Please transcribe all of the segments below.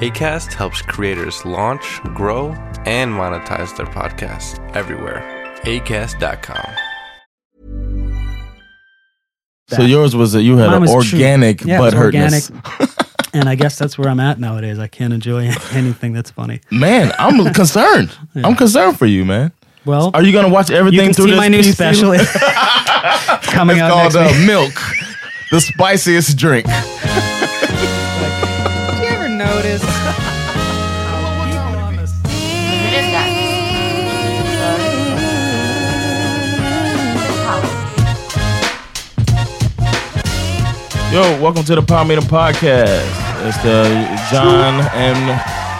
ACAST helps creators launch, grow, and monetize their podcasts everywhere. ACAST.com. So yours was that you had Mine an was true. organic Yeah, it butt was hurtness. and I guess that's where I'm at nowadays. I can't enjoy anything that's funny. Man, I'm concerned. I'm concerned for you, man. Well, Are you gonna watch everything you can through see this my new PC? special coming It's out called next uh, week. milk, the spiciest drink. Did you ever notice? Yo, welcome to the Palm Meeting Podcast. It's the John and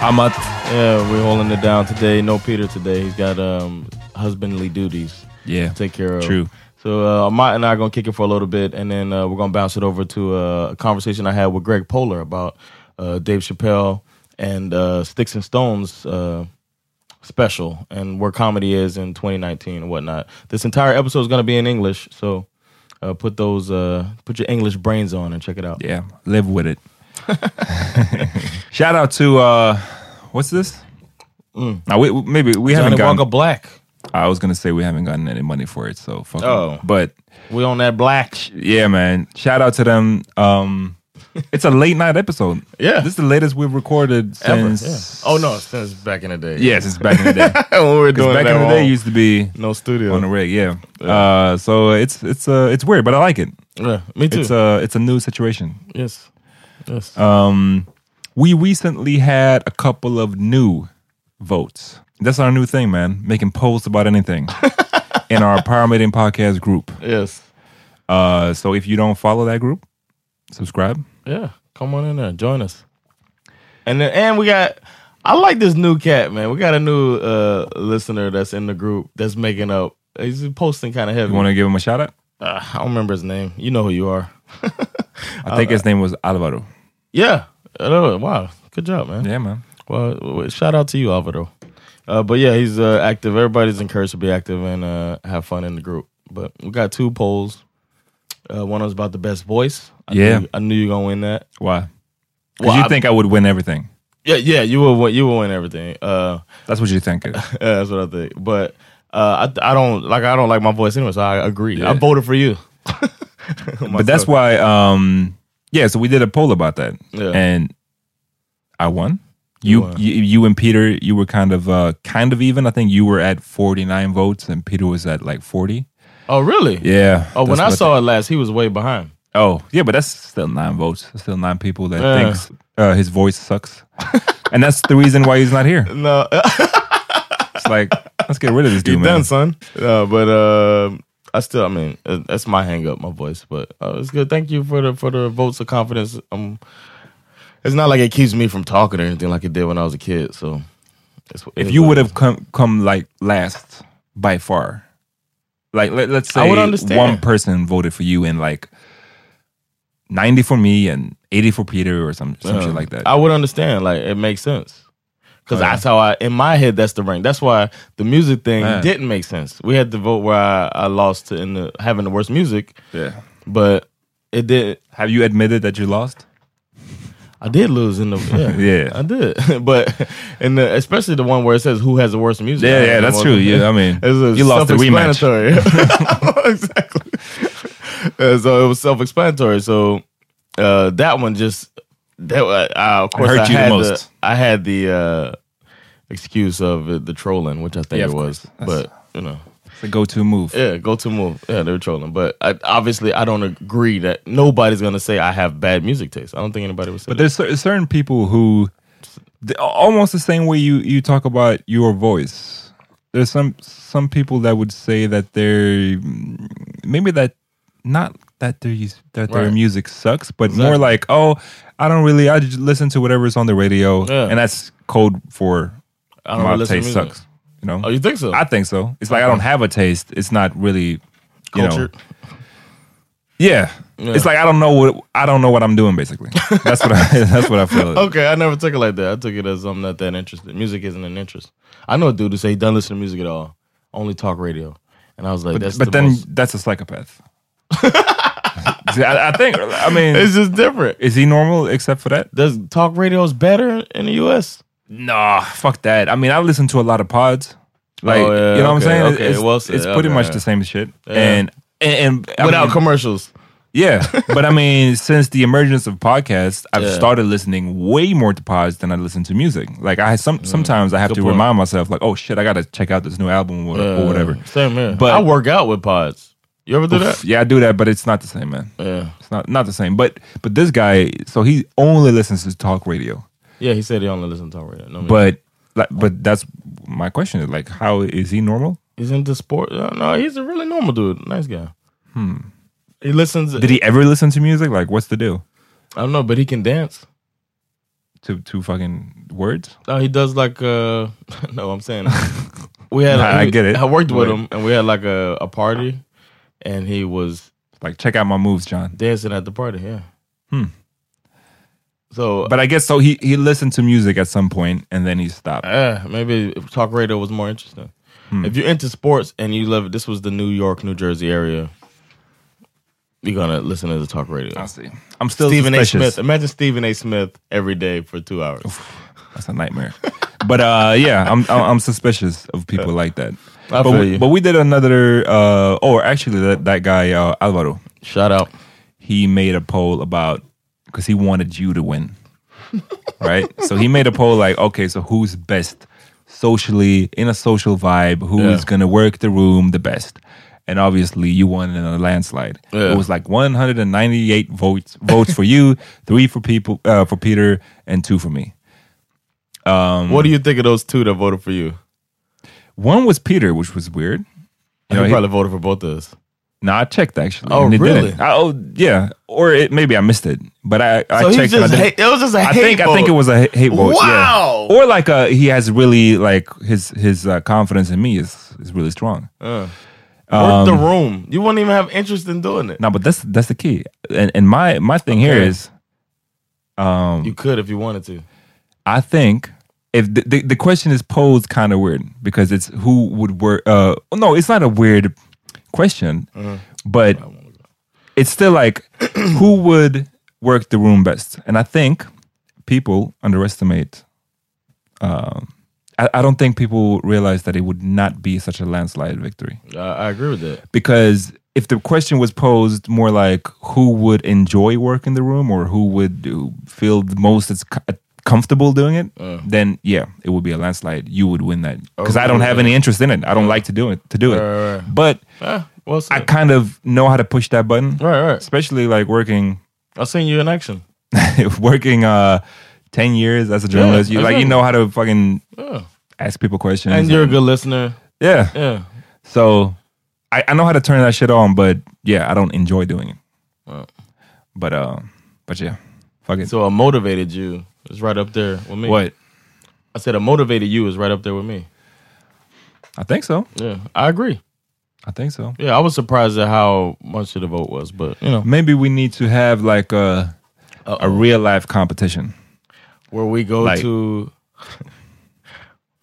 Amat. Yeah, we're holding it down today. No Peter today. He's got um husbandly duties. Yeah. to take care of. True. So uh, Amat and I are gonna kick it for a little bit, and then uh, we're gonna bounce it over to uh, a conversation I had with Greg Poler about uh, Dave Chappelle and uh, Sticks and Stones uh, special and where comedy is in 2019 and whatnot. This entire episode is gonna be in English, so uh, put those uh, put your English brains on and check it out. Yeah, live with it. Shout out to uh what's this? Mm. Now we, we- maybe we Johnny haven't gotten. Walker Black. I was gonna say we haven't gotten any money for it, so fuck. 'em. Oh. but We on that black. sh- yeah, man. Shout out to them. Um, it's a late night episode. Yeah. this is the latest we've recorded Ever. since. Yeah. Oh no, since back in the day. yeah, since back in the day. when we were 'Cause doing back that in the day, whole- used to be no studio. on the rig. Yeah. Uh, so it's it's uh it's weird, but I like it. yeah, me too. It's uh, a it's a new situation. yes, yes. we recently had a couple of new votes. That's our new thing, man. Making posts about anything in our Power Meeting podcast group. Yes. Uh, so if you don't follow that group, subscribe. Yeah. Come on in there. Join us. And then, and we got I like this new cat, man. We got a new uh listener that's in the group that's making up he's posting kind of heavy. You want to give him a shout out? uh, I don't remember his name. You know who you are. I think his name was Alvaro. Yeah. I know. Wow. Good job, man. Yeah, man. Well, w- shout out to you, Alvaro. Uh, but yeah, he's uh, active. Everybody's encouraged to be active and uh, have fun in the group. But we got two polls. Uh, one was about the best voice. I Yeah. knew, I knew you were gonna win that. Why? Because Well, you I- think I would win everything. Yeah, yeah, you will. win- You will win everything. Uh, That's what you think. it- Yeah, that's what I think. But uh, I I don't like I don't like my voice anyway, so I agree. I voted for you. but that's why, um, yeah, so we did a poll about that. Yeah. And I won. You, won. you you and Peter, you were kind of uh, kind of even. I think you were at 49 votes and Peter was at like 40. Oh really? Yeah. Oh, when that's I what saw it last, he was way behind. Oh, yeah, but that's still nine votes. That's still nine people that Yeah. thinks uh, his voice sucks, and that's the reason why he's not here. No, It's like let's get rid of this you dude, man. done, son. Uh, but uh, I still, I mean, uh, that's my hang up, my voice. But uh, it's good. Thank you for the for the votes of confidence. Um, it's not like it keeps me from talking or anything like it did when I was a kid. So, it's, If you would have come come like last by far, like let, let's I say would understand. one person voted for you and like ninety for me and eighty for Peter or some some shit like that. Uh, Oh, I would understand. Like it makes sense. Cause that's how I in my head that's the rank. That's why the music thing Yeah. didn't make sense. We had to vote where I, I lost to in the having the worst music, yeah. but it did Have you admitted that you lost? I did lose in the yeah, Yeah. I did, but in the especially the one where it says who has the worst music. Yeah, yeah, that's true. Yeah, I mean, you lost the rematch. rematch. exactly. Uh, so it was self-explanatory. So uh, that one just that uh, I, of course hurt I you the had most. I had the uh, excuse of uh, the trolling, which I think Yeah, it of was, course. but you know. It's a go-to move. Yeah, go to move. Yeah, they were trolling, but I, obviously I don't agree that nobody's gonna say I have bad music taste. I don't think anybody would say. But that. there's cer- certain people who, th- almost the same way you you talk about your voice. There's some some people that would say that they're mm, maybe that not that their us- that their Right. music sucks, but more Exactly. like oh, I don't really I just listen to whatever's on the radio, Yeah. and that's code for I don't my listen to taste music. sucks. You know, Oh, you think so? I think so. It's like I don't have a taste. It's not really you know, Culture. yeah. It's like I don't know what I don't know what I'm doing. Basically, that's what I that's what I feel. Okay, I never took it like that. I took it as I'm not that interested. Music isn't an interest. I know a dude who say he doesn't listen to music at all, only talk radio, and I was like, But, that's but the then most- that's a psychopath. See, I, I think. I mean, it's just different. is he normal except for that? Does talk radio is better in the U.S. Nah, fuck that. I mean, I listen to a lot of pods. Like, Oh, yeah, you know what I'm okay, saying? okay, it's well it's said, pretty okay, much yeah. the same shit. And and, and I without mean, commercials? yeah, but I mean, since the emergence of podcasts, I've Yeah. started listening way more to pods than I listen to music. Like I some sometimes I have to Mm. point. remind myself, like, oh shit, I gotta check out this new album or, or whatever. Same here. But- But I work out with pods. You ever do that? Yeah, I do that, but it's not the same, man. Yeah. It's not not the same. But but this guy, so he only listens to talk radio. Yeah, he said he only listens to talk radio. No, But like, but that's my question is like, how is he normal? he's into sport. No, no, he's a really normal dude. Nice guy. Hmm. He listens. Did he ever listen to music? Like, what's the deal? I don't know, but he can dance. To to fucking words? No, he does like uh no, I'm saying we had Nah, I get it. I worked with But- him and we had like a, a party and he was Like, check out my moves, John. dancing at the party, yeah. Hmm. So but But I guess so. He he listened to music at some point and then he stopped. uh, maybe talk radio was more interesting. Hmm. If you're into sports and you live this was the New York, New Jersey area, you're gonna listen to the talk radio. I see. I'm still Stephen A. suspicious. Smith. Imagine Stephen A. Smith every day for two hours. That's a nightmare. but uh, yeah, I'm I'm I'm suspicious of people like that. but I feel we, you. but we did another. Uh, oh, actually, that that guy uh, Alvaro. Shout out. he made a poll about because he wanted you to win, right? so he made a poll like, okay, so who's best socially in a social vibe? Who Yeah. is gonna work the room the best? And obviously, you won in a landslide. Yeah. It was like 198 votes votes for you, three for people uh, for Peter, and two for me. um, What do you think of those two that voted for you? One was Peter, which was weird. You know, he he- probably voted for both of us. no, I checked actually. Oh, and it really? didn't. I, oh, yeah. Or it, maybe I missed it, but I, I So he checked. and I just didn't- hate- it was just a I hate think I think vote. it was a ha- hate vote. Wow. Yeah. Or like uh he has really like his his uh, confidence in me is is really strong. Work Um, the room. You wouldn't even have interest in doing it. No, but that's that's the key. And and my my thing here Okay. is um, You could if you wanted to. I think if the, the, the question is posed kind of weird because it's who would work. Uh, no, it's not a weird question, Uh-huh. but it's still like who would work the room best. And I think people underestimate. Um, I, I don't think people realize that it would not be such a landslide victory I, I agree with that. because if the question was posed more like who would enjoy work in the room or who would do, feel the most it's co- comfortable doing it, then yeah, it would be a landslide. You would win that because I don't have any interest in it. I don't like to do it. To do it, Right, right. but Eh, well said. I kind of know how to push that button, right, right. especially like working I've seen you in action. working uh, ten years as a journalist. you like you exactly. know how to fucking Yeah. ask people questions, And you're a good listener. yeah. Yeah. So I, I know how to turn that shit on, but yeah, I don't enjoy doing it. Wow. But uh, but yeah, fuck it. So I motivated you. It's right up there with me. what? I said I motivated you is right up there with me. I think so. Yeah. I agree. I think so. Yeah, I was surprised at how much of the vote was, but you know. Maybe we need to have like a a real life competition. Where we go Like- to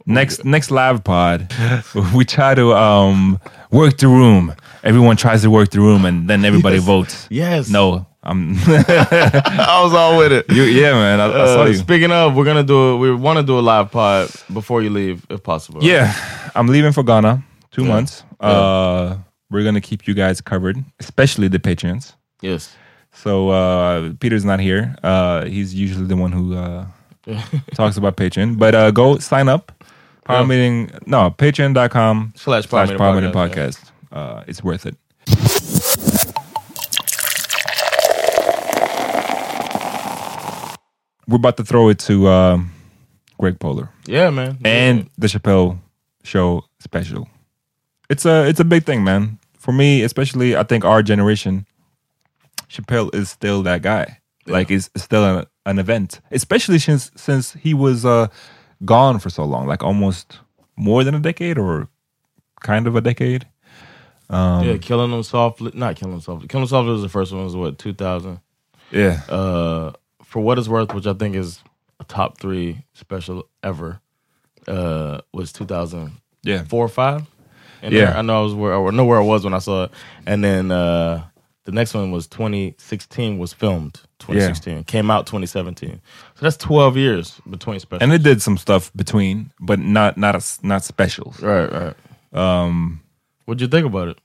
Next next live pod, we try to um work the room. Everyone tries to work the room, and then everybody votes. Yes. No, I'm. I was all with it. you, yeah, man. I, I saw Uh, you. speaking of, we're gonna do a, we want to do a live pod before you leave, if possible. right? Yeah, I'm leaving for Ghana. Two Yeah. months. Uh, we're gonna keep you guys covered, especially the patrons. Yes. So uh, Peter's not here. Uh, he's usually the one who uh, talks about Patreon. But uh, go sign up. Power Yeah. Meeting, no, patreon.com Slash Power slash Meeting Power Meeting Podcast, Podcast. Uh, it's worth it. We're about to throw it to um, Greg Polar Yeah, man. and the Chappelle Show special. It's a it's a big thing, man. For me, especially, I think our generation, Chappelle is still that guy. Like, it's still an, an event, especially since since he was uh, gone for so long, like almost more than a decade or kind of a decade. Um, yeah, killing them softly. Not killing them softly. Killing them softly was the first one. It was what two thousand. Yeah, Uh, for what it's worth, which I think is a top three special ever, uh, was two thousand yeah, four or five. And Yeah. there- I know I was where I know where I was when I saw it. And then uh, the next one was 2016 was filmed 2016 came out 2017. So that's 12 years between specials. and it did some stuff between, but not not a s not specials. right, right. Um, What'd you think about it?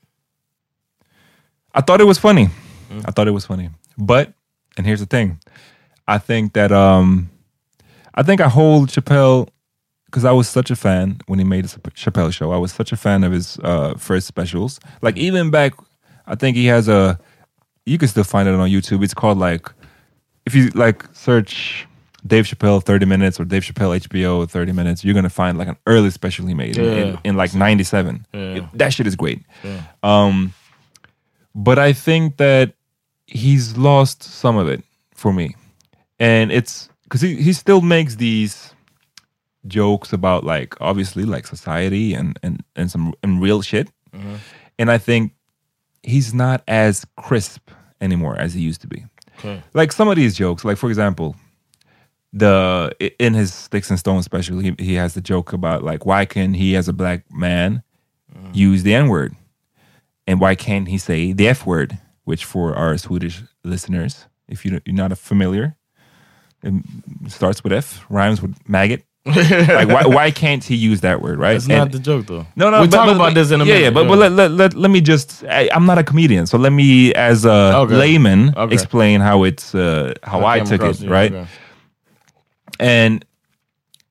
I thought it was funny. I thought it was funny. But and here's the thing. I think that um I think I hold Chappelle because I was such a fan when he made his Chappelle show. I was such a fan of his uh first specials. Like even back I think he has a you can still find it on YouTube. It's called like if you like search Dave Chappelle 30 minutes or Dave Chappelle HBO 30 minutes, you're gonna find like an early special he made in- Yeah. in, in like 97. Yeah. That shit is great. Um, but I think that he's lost some of it for me. And it's because he, he still makes these jokes about like obviously like society and and, and some and real shit. Mm-hmm. And I think he's not as crisp anymore as he used to be. Okay. Like some of these jokes, like for example, the i- in his sticks and stones special, he, he has the joke about like why can he as a black man use the N word, and why can't he say the F word? Which for our Swedish listeners, if you don't- you're not familiar, it starts with F, rhymes with maggot. like why why can't he use that word? Right? That's not And- the joke though. no, no. we but- talk but- about this in a yeah, minute. Yeah, but, but let, let, let, let me just. I, I'm not a comedian, so let me, as a Okay. layman, Okay. explain how it's uh, how I came took across it, you, right? okay. And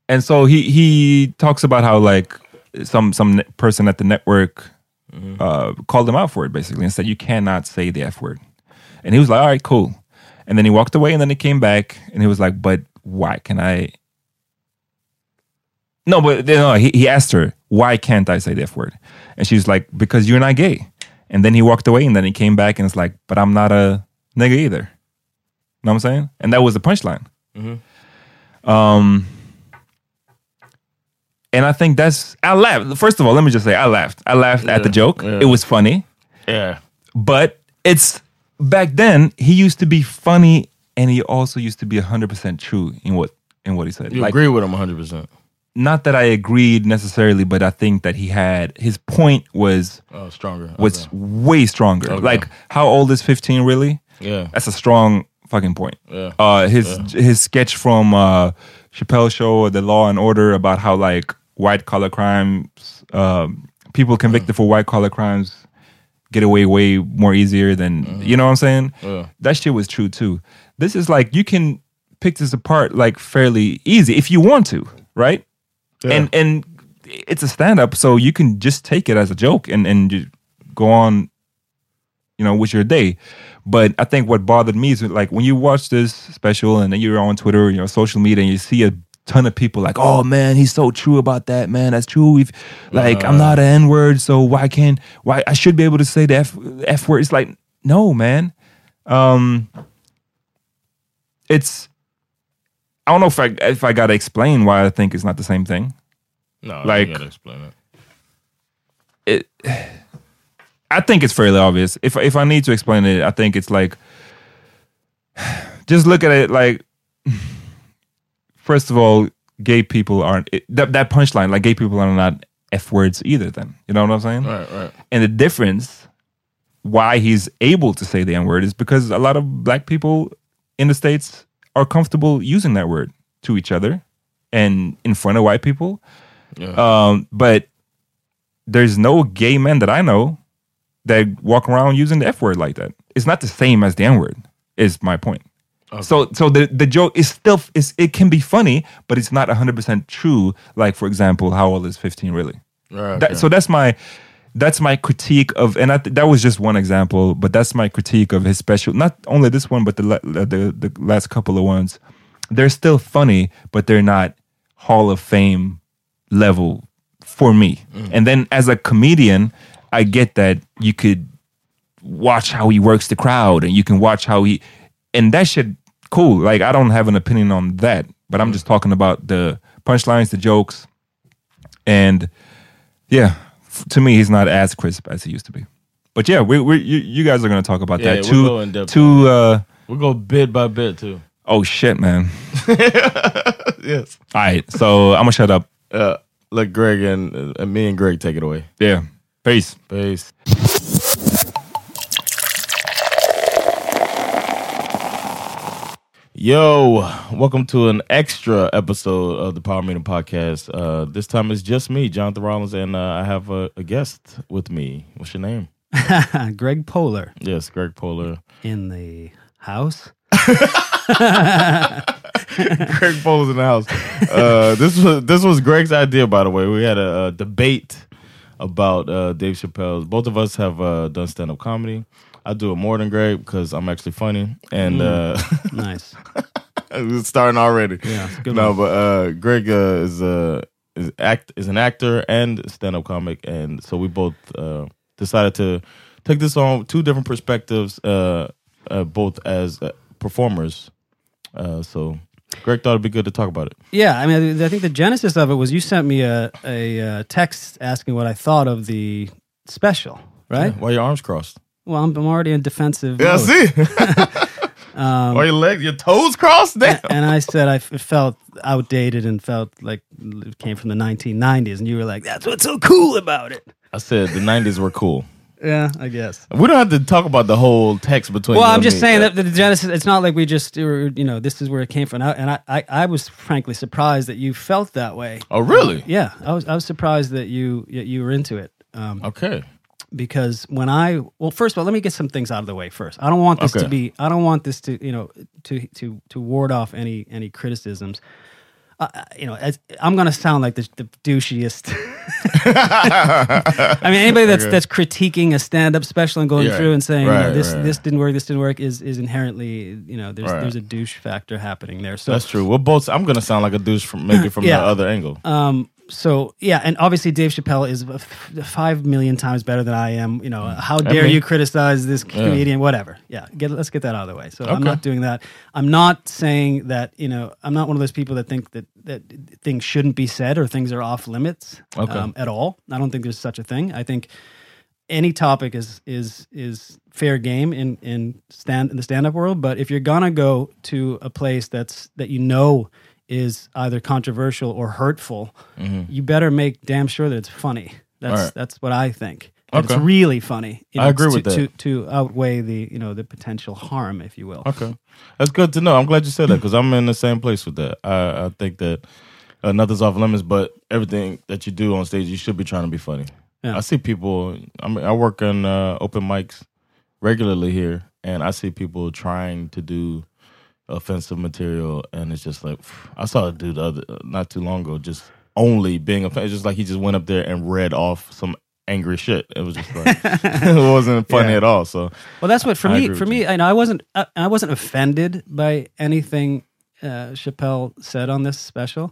and so he he talks about how like some some ne- person at the network uh, called him out for it basically and said you cannot say the f word, and he was like, all right, cool, and then he walked away, and then he came back, and he was like, but why can I? No, but no, he, he asked her, why can't I say the F word? And she's like, because you're not gay. And then he walked away and then he came back and it's like, but I'm not a nigga either. Know what I'm saying? And that was the punchline. Um, and I think that's, I laughed. First of all, let me just say, I laughed. I laughed at the joke. It was funny Yeah. but it's back then he used to be funny and he also used to be 100% true in what in what he said You like agree with him 100 percent not that i agreed necessarily but i think that he had his point was Oh, stronger. was Okay. way stronger Okay. like how old is 15 really yeah. that's a strong fucking point Yeah. uh his his sketch from uh chappelle show or the law and order about how like white collar crimes um people convicted for white collar crimes get away way more easier than you know what I'm saying? That shit was true too. This is like you can pick this apart like fairly easy if you want to, right? And and it's a stand up, so you can just take it as a joke and and you go on, you know, with your day. But I think what bothered me is like when you watch this special and then you're on Twitter, you know, social media, and you see a ton of people like, "Oh man, he's so true about that, man. That's true. If like I'm not an N word, so why can't why I should be able to say the F F word?" It's like, no, man. Um, it's I don't know if I if I gotta explain why I think it's not the same thing. No, like- you gotta explain it. I think it's fairly obvious. If if I need to explain it, I think it's like just look at it like first of all, gay people aren't it, that that punchline like gay people are not f words either. Then you know what I'm saying? Right, right. And the difference why he's able to say the N word is because a lot of black people in the States are comfortable using that word to each other and in front of white people. Um, but there's no gay men that I know that walk around using the F word like that. It's not the same as the N word, is my point. So so the, the joke is still is it can be funny, but it's not hundred percent true. Like for example, how old is fifteen really? Right, That- okay. so that's my that's my critique of, and I th- that was just one example, but that's my critique of his special. Not only this one, but the la- the the last couple of ones. They're still funny, but they're not Hall of Fame level for me. And then as a comedian, I get that you could watch how he works the crowd and you can watch how he and that shit cool. Like I don't have an opinion on that, but I'm just talking about the punchlines, the jokes, and yeah. f- To me, he's not as crisp as he used to be. But yeah, we we you, you guys are gonna talk about Yeah, that we'll too. go in depth too. Uh, We'll go bit by bit too. oh shit, man! Yes. All right, so I'm gonna shut up. Uh, let Greg and uh, me and Greg take it away. Yeah, peace. Peace. Yo, welcome to an extra episode of the Power Meeting Podcast. Uh, this time it's just me, Jonathan Rollins, and uh, I have a, a guest with me. What's your name? Greg Polar Yes, Greg Polar. in the house. Greg Polar's in the house. Uh, this was this was Greg's idea, by the way. We had a, a debate about uh, Dave Chappelle's. Both of us have uh, done stand up comedy. I do it more than Greg because I'm actually funny, and uh, Nice. it's starting already. Yeah, it's a good no, one. but uh, Greg uh, is a is act is an actor and stand up comic, and so we both uh, decided to take this on two different perspectives, uh, uh, both as uh, performers. Uh, so Greg thought it'd be good to talk about it. Yeah, I mean, I think the genesis of it was you sent me a a uh, text asking what I thought of the special, right? Why your arms crossed? Well, I'm, I'm already in defensive. mode. Um, Why your legs, your toes crossed? Damn. and I said I f- it felt outdated and felt like it came from the 1990s, and you were like, "That's what's so cool about it." I said the '90s were cool. Yeah, I guess. We don't have to talk about the whole text between. Well, you I'm and just me. saying that the genesis. It's not like we just, were, you know, this is where it came from. And I, I, I was frankly surprised that you felt that way. Oh, really? Yeah, I was, I was surprised that you, that you were into it. Um, Okay. because when I well, first of all, let me get some things out of the way first. I don't want this Okay. to be. I don't want this to you know to to to ward off any any criticisms. Uh, you know, as, I'm going to sound like the, the douchiest. I mean, anybody that's that's critiquing a stand-up special and going Yeah. through and saying you Right, know, this right. this didn't work, this didn't work is is inherently you know there's Right. there's a douche factor happening there. So That's true. We're both. I'm gonna sound like a douche from maybe from Yeah. the other angle. Um, so yeah, and obviously Dave Chappelle is f- five million times better than I am. You know, how dare mean- you criticize this comedian? Whatever. Yeah, get, let's get that out of the way. So I'm Okay. not doing that. I'm not saying that. You know, I'm not one of those people that think that that things shouldn't be said or things are off limits um, Okay. at all. I don't think there's such a thing. I think any topic is is is fair game in in stand in the stand up world. But if you're gonna go to a place that's that you know is either controversial or hurtful, Mm-hmm. you better make damn sure that it's funny. That's Alright. that's what I think. That Okay. It's really funny. you I agree to, with that. To, to outweigh the you know the potential harm, if you will. Okay, that's good to know. I'm glad you said that because I'm in the same place with that. I, I think that uh, nothing's off limits, but everything that you do on stage, you should be trying to be funny. Yeah. I see people. I mean, I work on uh, open mics regularly here, and I see people trying to do offensive material, and it's just like I saw a dude the other, uh, not too long ago just only being offensive. It's just like he just went up there and read off some angry shit. It was just like it wasn't funny Yeah. at all. So Well, that's what for I me. agree For with me, I know I wasn't. I, I wasn't offended by anything uh, Chappelle said on this special,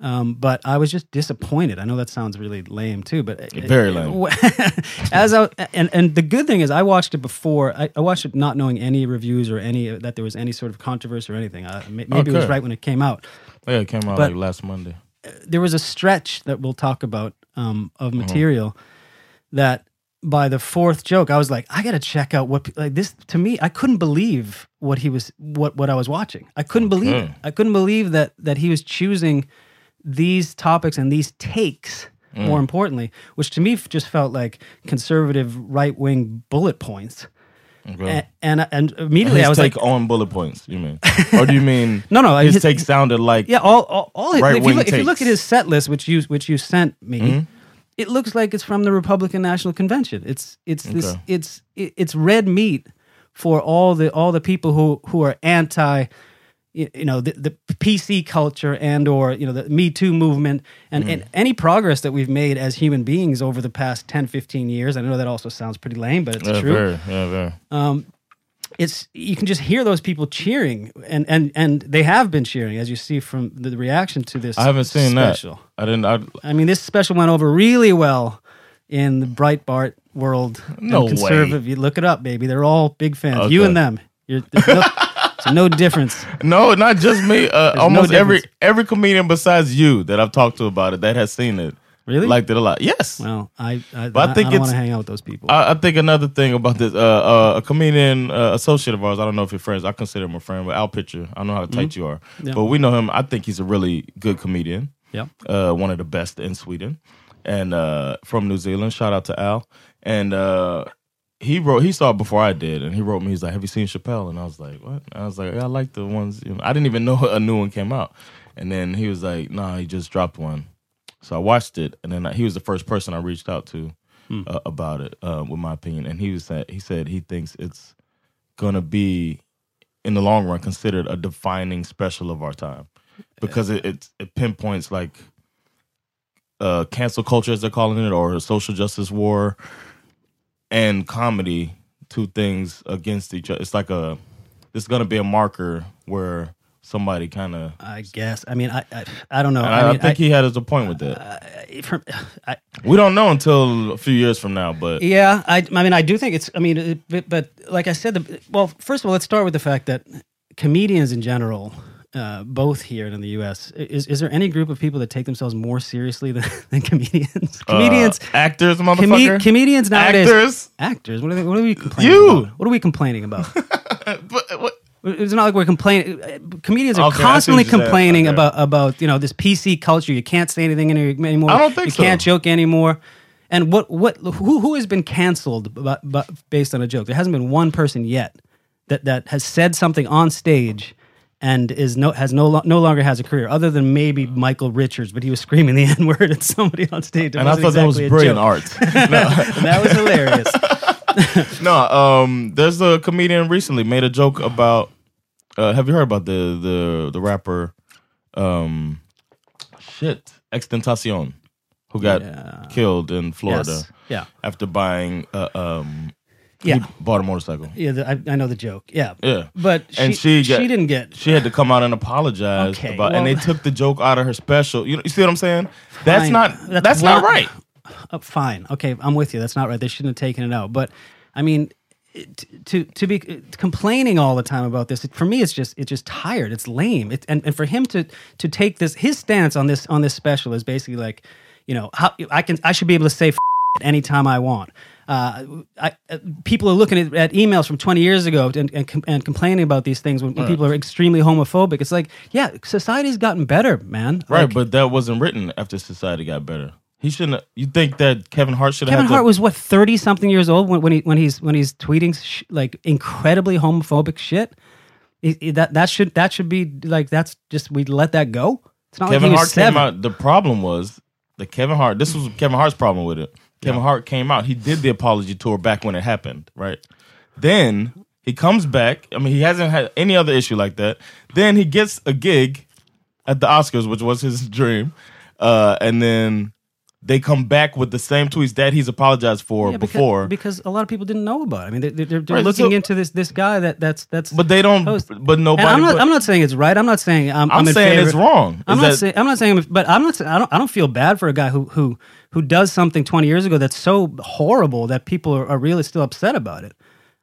um, but I was just disappointed. I know that sounds really lame too, but uh, Very lame. as I and and the good thing is, I watched it before. I, I watched it not knowing any reviews or any that there was any sort of controversy or anything. I, may- maybe it was Okay. right when it came out yeah, it came out But- like last Monday. there was a stretch that we'll talk about um, Uh-huh. of material that by the fourth joke i was like i gotta check out what pe- like this to me i couldn't believe what he was what what i was watching i couldn't believe it Okay. i couldn't believe that that he was choosing these topics and these takes Mm. more importantly, which to me f- just felt like conservative right wing bullet points. A- and, and immediately his I was take like, on bullet points. You mean, or do you mean? No, no, His, his- take sounded like yeah, all all, all if, you Right-wing look, if you look takes. Mm-hmm. at his set list, which you which you sent me, it looks like it's from the Republican National Convention. It's it's this Okay. it's it, it's red meat for all the all the people who who are anti. You you know the, the PC culture and or you know the Me Too movement and, Mm-hmm. and any progress that we've made as human beings over the past 10, 15 years. I know that also sounds pretty lame, but it's Yeah, true Uh, very, yeah, very. it's you can just hear those people cheering and and and they have been cheering as you see from the reaction to this I haven't seen special. that. I didn't. I, i mean this special went over really well in the breitbart world and No way. conservative you look it up baby they're all big fans you Okay. and them You're, there's no, there's no difference no, not just me. Uh, almost no every difference. every comedian besides you that I've talked to about it that has seen it Really? liked it a lot. Yes. well i i, But I I, think I don't want to it's- hang out with those people I, I think another thing about this, uh, uh, a comedian uh, associate of ours. I don't know if you're friends. I consider him a friend, but Al Pitcher. I know how tight you are, Mm-hmm. Yeah. but we know him. I think he's a really good comedian. Yep. uh, one of the best in Sweden, and uh, from New Zealand. Shout out to Al. And uh, he wrote, he saw it before I did, and he wrote me. He's like, "Have you seen Chappelle?" And I was like, "What?" I was like, yeah, "I like the ones." You know, I didn't even know a new one came out. And then he was like, "Nah, he just dropped one." So I watched it, and then I, he was the first person I reached out to uh, about it uh, with my opinion. And he was said he said he thinks it's gonna be in the long run considered a defining special of our time because it it, it pinpoints like uh, cancel culture as they're calling it or social justice war and comedy two things against each other. It's like a it's gonna be a marker where somebody kind of. i guess i mean i i, I don't know I, I mean, think he had us a point with that. I- from, I, we don't know until a few years from now, but Yeah, I, I mean, I do think it's. I mean, it, but, but like I said, the, well, first of all, let's start with the fact that comedians in general, uh, both here and in the U.S., i- is is there any group of people that take themselves more seriously than, than comedians? Comedians, uh, actors, comed- motherfucker, comedians nowadays, actors. actors. What are, they, what are we complaining? You! about? What are we complaining about? But, what? It's not like we're complaining. uh, Comedians are Okay, I see what constantly you're saying. complaining Okay. about about you know this PC culture. You can't say anything any- anymore. I don't think you so. can't joke anymore. And what what who who has been canceled bu- bu- based on a joke? There hasn't been one person yet that that has said something on stage and is no has no lo- no longer has a career other than maybe Michael Richards, but he was screaming the n word at somebody on stage. It And I wasn't thought that was exactly a brilliant joke. art. that was hilarious. No, um, there's a comedian recently made a joke about. Uh, have you heard about the the the rapper? Um, shit, Extentacion, who got killed in Florida yes. Yeah. after buying. Uh, um, Yeah. he bought a motorcycle. Yeah, the, I, I know the joke. Yeah, Yeah. but she, And she, she got- didn't get. She had to come out and apologize Okay, about, and well- they took the joke out of her special. You, know, you see what I'm saying? That's Fine. not that's, That's not one- right. Uh, fine, okay, I'm with you. That's not right. They shouldn't have taken it out. But I mean, it, to to be uh, complaining all the time about this it, for me, it's just it's just tired. It's lame. It, and and for him to to take this his stance on this on this special is basically like, you know, how I can I should be able to say. F- anytime I want. Uh, I, uh, people are looking at, at emails from 20 years ago and, and, com- and complaining about these things when, when people are extremely homophobic. It's like, yeah, society's gotten better, man. Right, Like, but that wasn't written after society got better. He shouldn't. You think that Kevin Hart should have Kevin had to- Hart was what 30 something years old when, when he when he's when he's tweeting sh- like incredibly homophobic shit. He- he- that that should that should be like that's just we let that go. It's not like Kevin he Hart was seven. came out. The problem was the Kevin Hart. This was Kevin Hart's problem with it. Kevin Hart came out. He did the apology tour back when it happened, right? Then he comes back. I mean, he hasn't had any other issue like that. Then he gets a gig at the Oscars, which was his dream, uh, and then they come back with the same tweets that he's apologized for Yeah, because, before. because a lot of people didn't know about it. I mean, they're, they're, they're Right, so- looking into this this guy that that's that's but they don't. Post. But nobody. And I'm not. but- I'm not saying it's right. I'm not saying I'm. I'm I'm in saying favor- it's wrong. I'm Is not that- saying. I'm not saying. But I'm not. saying- I don't. I don't feel bad for a guy who who who does something 20 years ago that's so horrible that people are, are really still upset about it.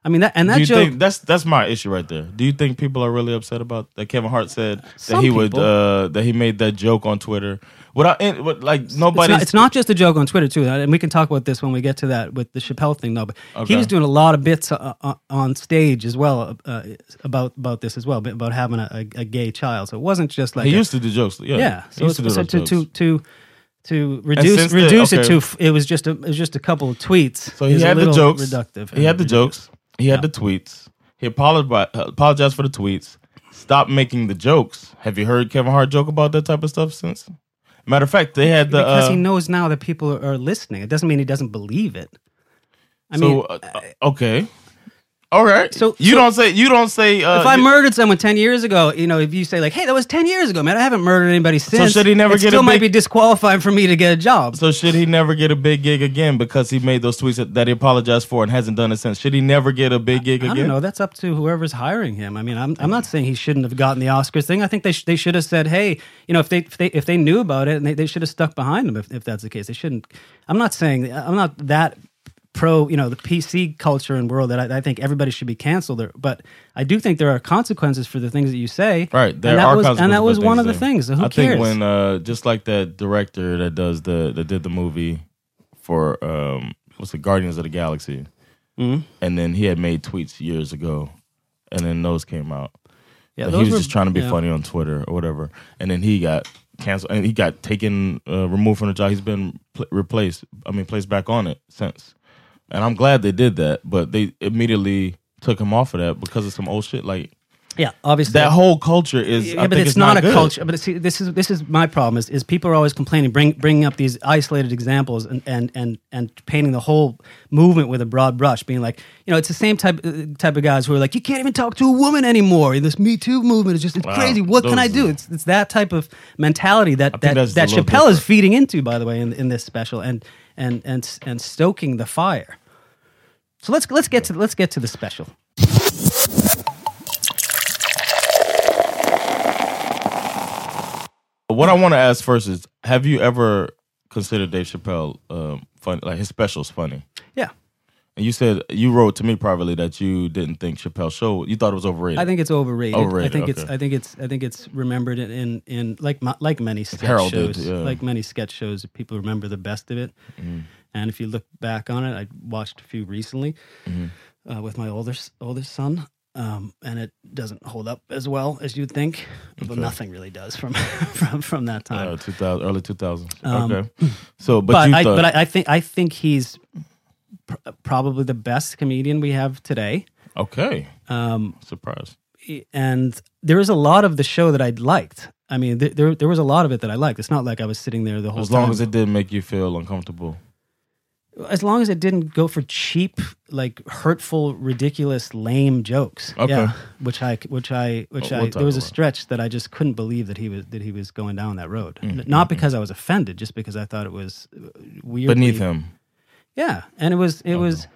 I mean that and do that you joke. think that's that's my issue right there? Do you think people are really upset about that? Kevin Hart said that Some he would people. uh, that he made that joke on Twitter without any- but like it's nobody. not, it's not just a joke on Twitter too, and we can talk about this when we get to that with the Chappelle thing. No, but Okay. he was doing a lot of bits uh, uh, on stage as well uh, about about this as well about having a, a, a gay child. So it wasn't just like he a- used to do jokes. Yeah, Yeah. he So, used it's, to do so those to, jokes. to to to reduce since the- reduce it okay. to f- it was just a it was just a couple of tweets. So he It's a had the little jokes. Reductive. He had the jokes. He had the tweets. He apologized, apologized for the tweets. Stop making the jokes. Have you heard Kevin Hart joke about that type of stuff since? Matter of fact, they had the. because uh, he knows now that people are listening. It doesn't mean he doesn't believe it. I so, mean, uh, uh, okay, all right. So- So you so- don't say. You don't say. Uh, if I you- murdered someone ten years ago, you know, if you say like, "Hey, that was ten years ago, man. I haven't murdered anybody since." should he never it get a Still might big- be disqualified for me to get a job. so should he never get a big gig again because he made those tweets that, that he apologized for and hasn't done it since? Should he never get a big gig I again? don't know. That's up to whoever's hiring him. I mean, I'm, I'm not saying he shouldn't have gotten the Oscars thing. I think they sh- they should have said, hey, you know, if they if they, if they knew about it, and they, they should have stuck behind him if, if that's the case. They shouldn't. I'm not saying I'm not that pro. You know, the PC culture and world that I, I think everybody should be canceled. Or, but I do think there are consequences for the things that you say. Right, there and that are was, consequences and that for was one of the they- things. So who I cares? think when uh, just like that director that does the that did the movie for um, what's the Guardians of the Galaxy, Mm-hmm. and then he had made tweets years ago, and then those came out. Yeah, Like, those he was were- just trying to be yeah. funny on Twitter or whatever, and then he got canceled and he got taken uh, removed from the job. He's been pl- replaced. I mean, placed back on it since. And I'm glad they did that, but they immediately took him off of that because of some old shit. Like yeah, obviously that whole culture is. I Yeah, but think it's, not, a good. culture. But see, this is this is my problem. Is, is people are always complaining, bring, bringing up these isolated examples and, and and and painting the whole movement with a broad brush, being like, you know, it's the same type uh, type of guys who are like, you can't even talk to a woman anymore. This Me Too movement is just it's Wow. crazy. What can I Those- do? It's it's that type of mentality that think that that's a that little Chappelle different. is feeding into, by the way, in in this special and and and and stoking the fire. So let's let's get to let's get to the special. What I want to ask first is, have you ever considered Dave Chappelle um, funny? Like his specials funny? Yeah. And you said you wrote to me privately that you didn't think Chappelle's show you thought it was overrated. I think it's overrated. Overrated, I think it's okay. I think it's I think it's remembered in in, in like my, like many sketch heralded, shows. yeah. Mm-hmm. Like many sketch shows, people remember the best of it. And if you look back on it, I watched a few recently Mm-hmm. uh, with my older s- older son. Um, and it doesn't hold up as well as you'd think, but nothing really does from from from that time. uh, 2000, early 2000s. okay. So, but, Um, but you I, thought, but I, I think I think he's pr- probably the best comedian we have today. okay. Um, Surprised. and there was a lot of the show that I liked. I mean, th- there there was a lot of it that I liked. It's not like I was sitting there the whole As long time. as it didn't make you feel uncomfortable. as long as it didn't go for cheap, like hurtful, ridiculous, lame jokes. Okay. Yeah, which I which I which We'll I talk there was a about it. stretch that I just couldn't believe that he was that he was going down that road. Mm-hmm. N- Not because I was offended, just because I thought it was uh, weird. Beneath him. Yeah, and it was Oh, it was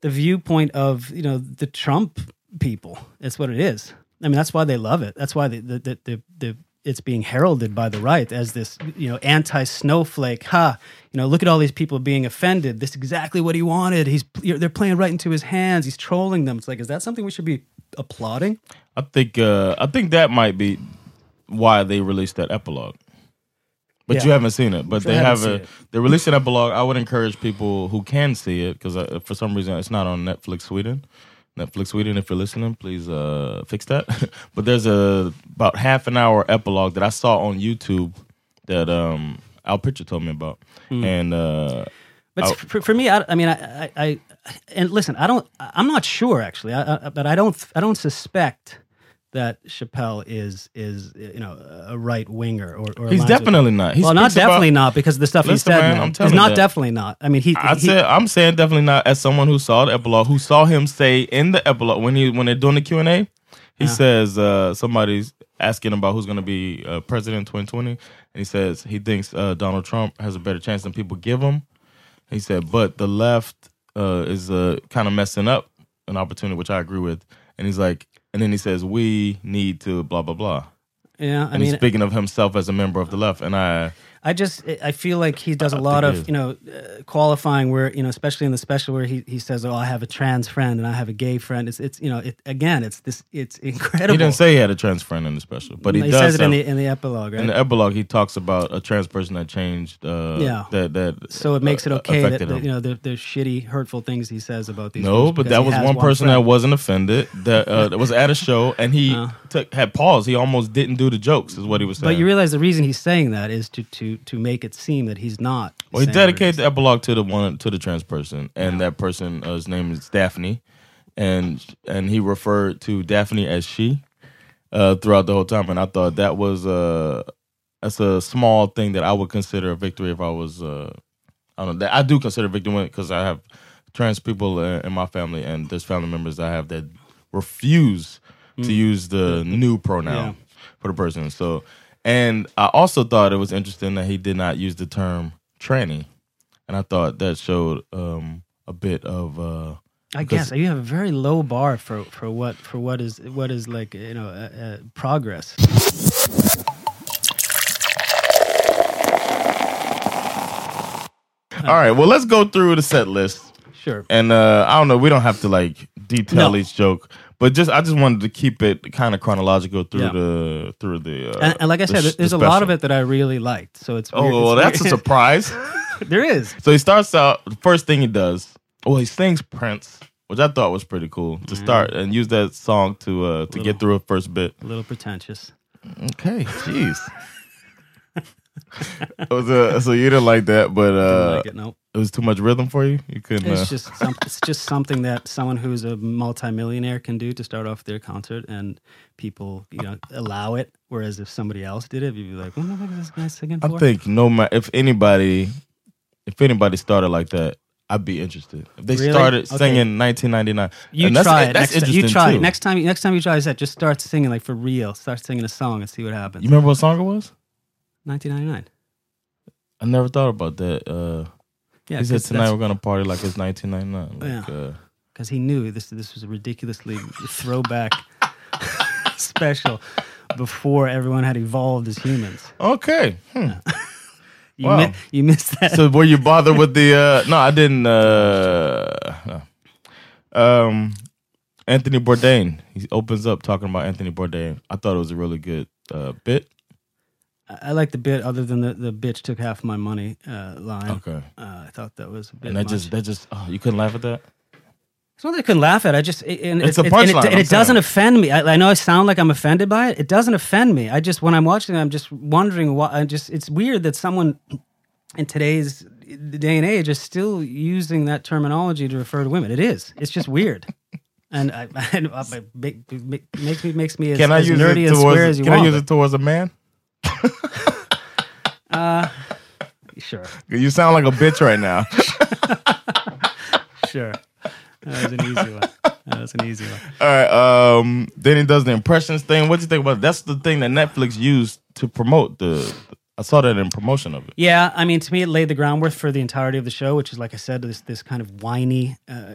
the viewpoint of you know the Trump people. That's what it is. I mean, that's why they love it. That's why the the the, the, the it's being heralded by the right as this you know anti snowflake. Ha! You know, look at all these people being offended. This is exactly what he wanted. He's you're, they're playing right into his hands. He's trolling them. It's like, is that something we should be applauding? I think uh, I think that might be why they released that epilogue. But you Yeah. haven't seen it. But I they haven't have seen a it. they released an epilogue. I would encourage people who can see it because for some reason it's not on Netflix Sweden. Netflix Sweden, if you're listening, please uh, fix that. but there's a about half an hour epilogue that I saw on YouTube that um, Al Pritchard told me about, Hmm. and uh, But Oh. for, for me, I, I mean, I, I, I, and listen, I don't, I- I'm not sure actually, I, I, but I don't, I don't suspect that Chappelle is is you know a right winger or, or he's aligns with- definitely not. He well, not speaks about- definitely not because the stuff he Listen, said man, no. I'm telling he's you not that. definitely not. I mean, he, I he said I'm saying definitely not as someone who saw the epilogue, who saw him say in the epilogue when he when they're doing the Q and A, he says uh, somebody's asking about who's going to be uh, president in 2020, and he says he thinks uh, Donald Trump has a better chance than people give him. He said, but the left uh, is uh, kind of messing up an opportunity, which I agree with. And he's like, and then he says we need to blah blah blah. yeah. I And he's mean, speaking of himself as a member of the left, and I I just I feel like he does a I lot think of it you know uh, qualifying where you know especially in the special where he, he says oh I have a trans friend and I have a gay friend it's it's you know it again it's this it's incredible he didn't say he had a trans friend in the special, but he, does says it have- in the in the epilogue right In the epilogue, he talks about a trans person that changed. Uh, Yeah. That that. so it makes it uh, okay that affected that, him. you know the, the shitty, hurtful things he says about these. No, groups but because that he was has one person that friend. Uh. wasn't offended. That uh, that was at a show, and he took, had paused. He almost didn't do the jokes, is what he was saying. But you realize the reason he's saying that is to to to to make it seem that he's not. Well, he saying dedicated the what epilogue to the one to the trans person, and that person, uh, his name is Daphne, and and he referred to Daphne as she uh, throughout the whole time, and I thought that was uh, that's a small thing that I would consider a victory if I was uh, I don't know that I do consider victory because I have trans people uh, in my family, and there's family members I have that refuse to use the new pronoun Mm. Yeah. for the person. So, and I also thought it was interesting that he did not use the term tranny, and I thought that showed um, a bit of uh, it is. I guess you have a very low bar for for what for what is what is like you know uh, uh, progress. All right, well, let's go through the set list, Sure. and uh, I don't know, we don't have to like detail No. each joke. But just, I just wanted to keep it kind of chronological through Yeah. the through the. Uh, And, and like I the said, sh- the there's a lot special. of it that I really liked. So it's Oh, weird- it's well, that's a weird. surprise. there is. So he starts out. The first thing he does, well, he sings Prince, which I thought was pretty cool to Mm-hmm. start and use that song to uh, to get through a first bit. A little pretentious. Okay, jeez. It was, uh, so you didn't like that, but I uh, like it. No, it was too much rhythm for you. You couldn't. it's uh, just some, it's just something that someone who's a multimillionaire can do to start off their concert, and people you know allow it. Whereas if somebody else did it, you'd be like, "What the fuck is this guy singing I for?" think no matter if anybody, if anybody started like that, I'd be interested. If they Really? started Okay. singing 1999, you and that's, try it. That's next ti- interesting you try too. it next time. Next time you try that, just start singing like for real. Start singing a song and see what happens. You remember what song it was? 1999. I never thought about that. Uh, Yeah, he said because tonight we're gonna party like it's 1999. Like, Yeah. uh, because he knew this this was a ridiculously throwback special before everyone had evolved as humans. Okay. Hmm. You, Wow. mi- you missed that. So were you bothered with the uh no, I didn't uh no. um Anthony Bourdain. He opens up talking about Anthony Bourdain. I thought it was a really good uh bit. I, I like the bit other than the, the bitch took half my money uh, line. Okay. Uh, I thought that was a bit And that just much. that just oh, you couldn't laugh at that? it's not that I couldn't laugh at. it, I just it- and It's it- a it- and it, punchline, and I'm it doesn't saying. offend me. I, I know I sound like I'm offended by it. It doesn't offend me. I just when I'm watching, it, I'm just wondering why. I just it's weird that someone in today's day and age is still using that terminology to refer to women. It is. It's just weird. And I, and uh, I, it make- make- makes me makes me as, Can I as use nerdy it and towards square as you Can want. I use it towards a man? but Sure, You sound like a bitch right now. sure. That was an easy one. That was an easy one. All right. Um then he does the impressions thing. What do you think about that's the thing that Netflix used to promote the I saw that in promotion of it. Yeah, I mean, to me, it laid the groundwork for the entirety of the show, which is, like I said, this this kind of whiny uh,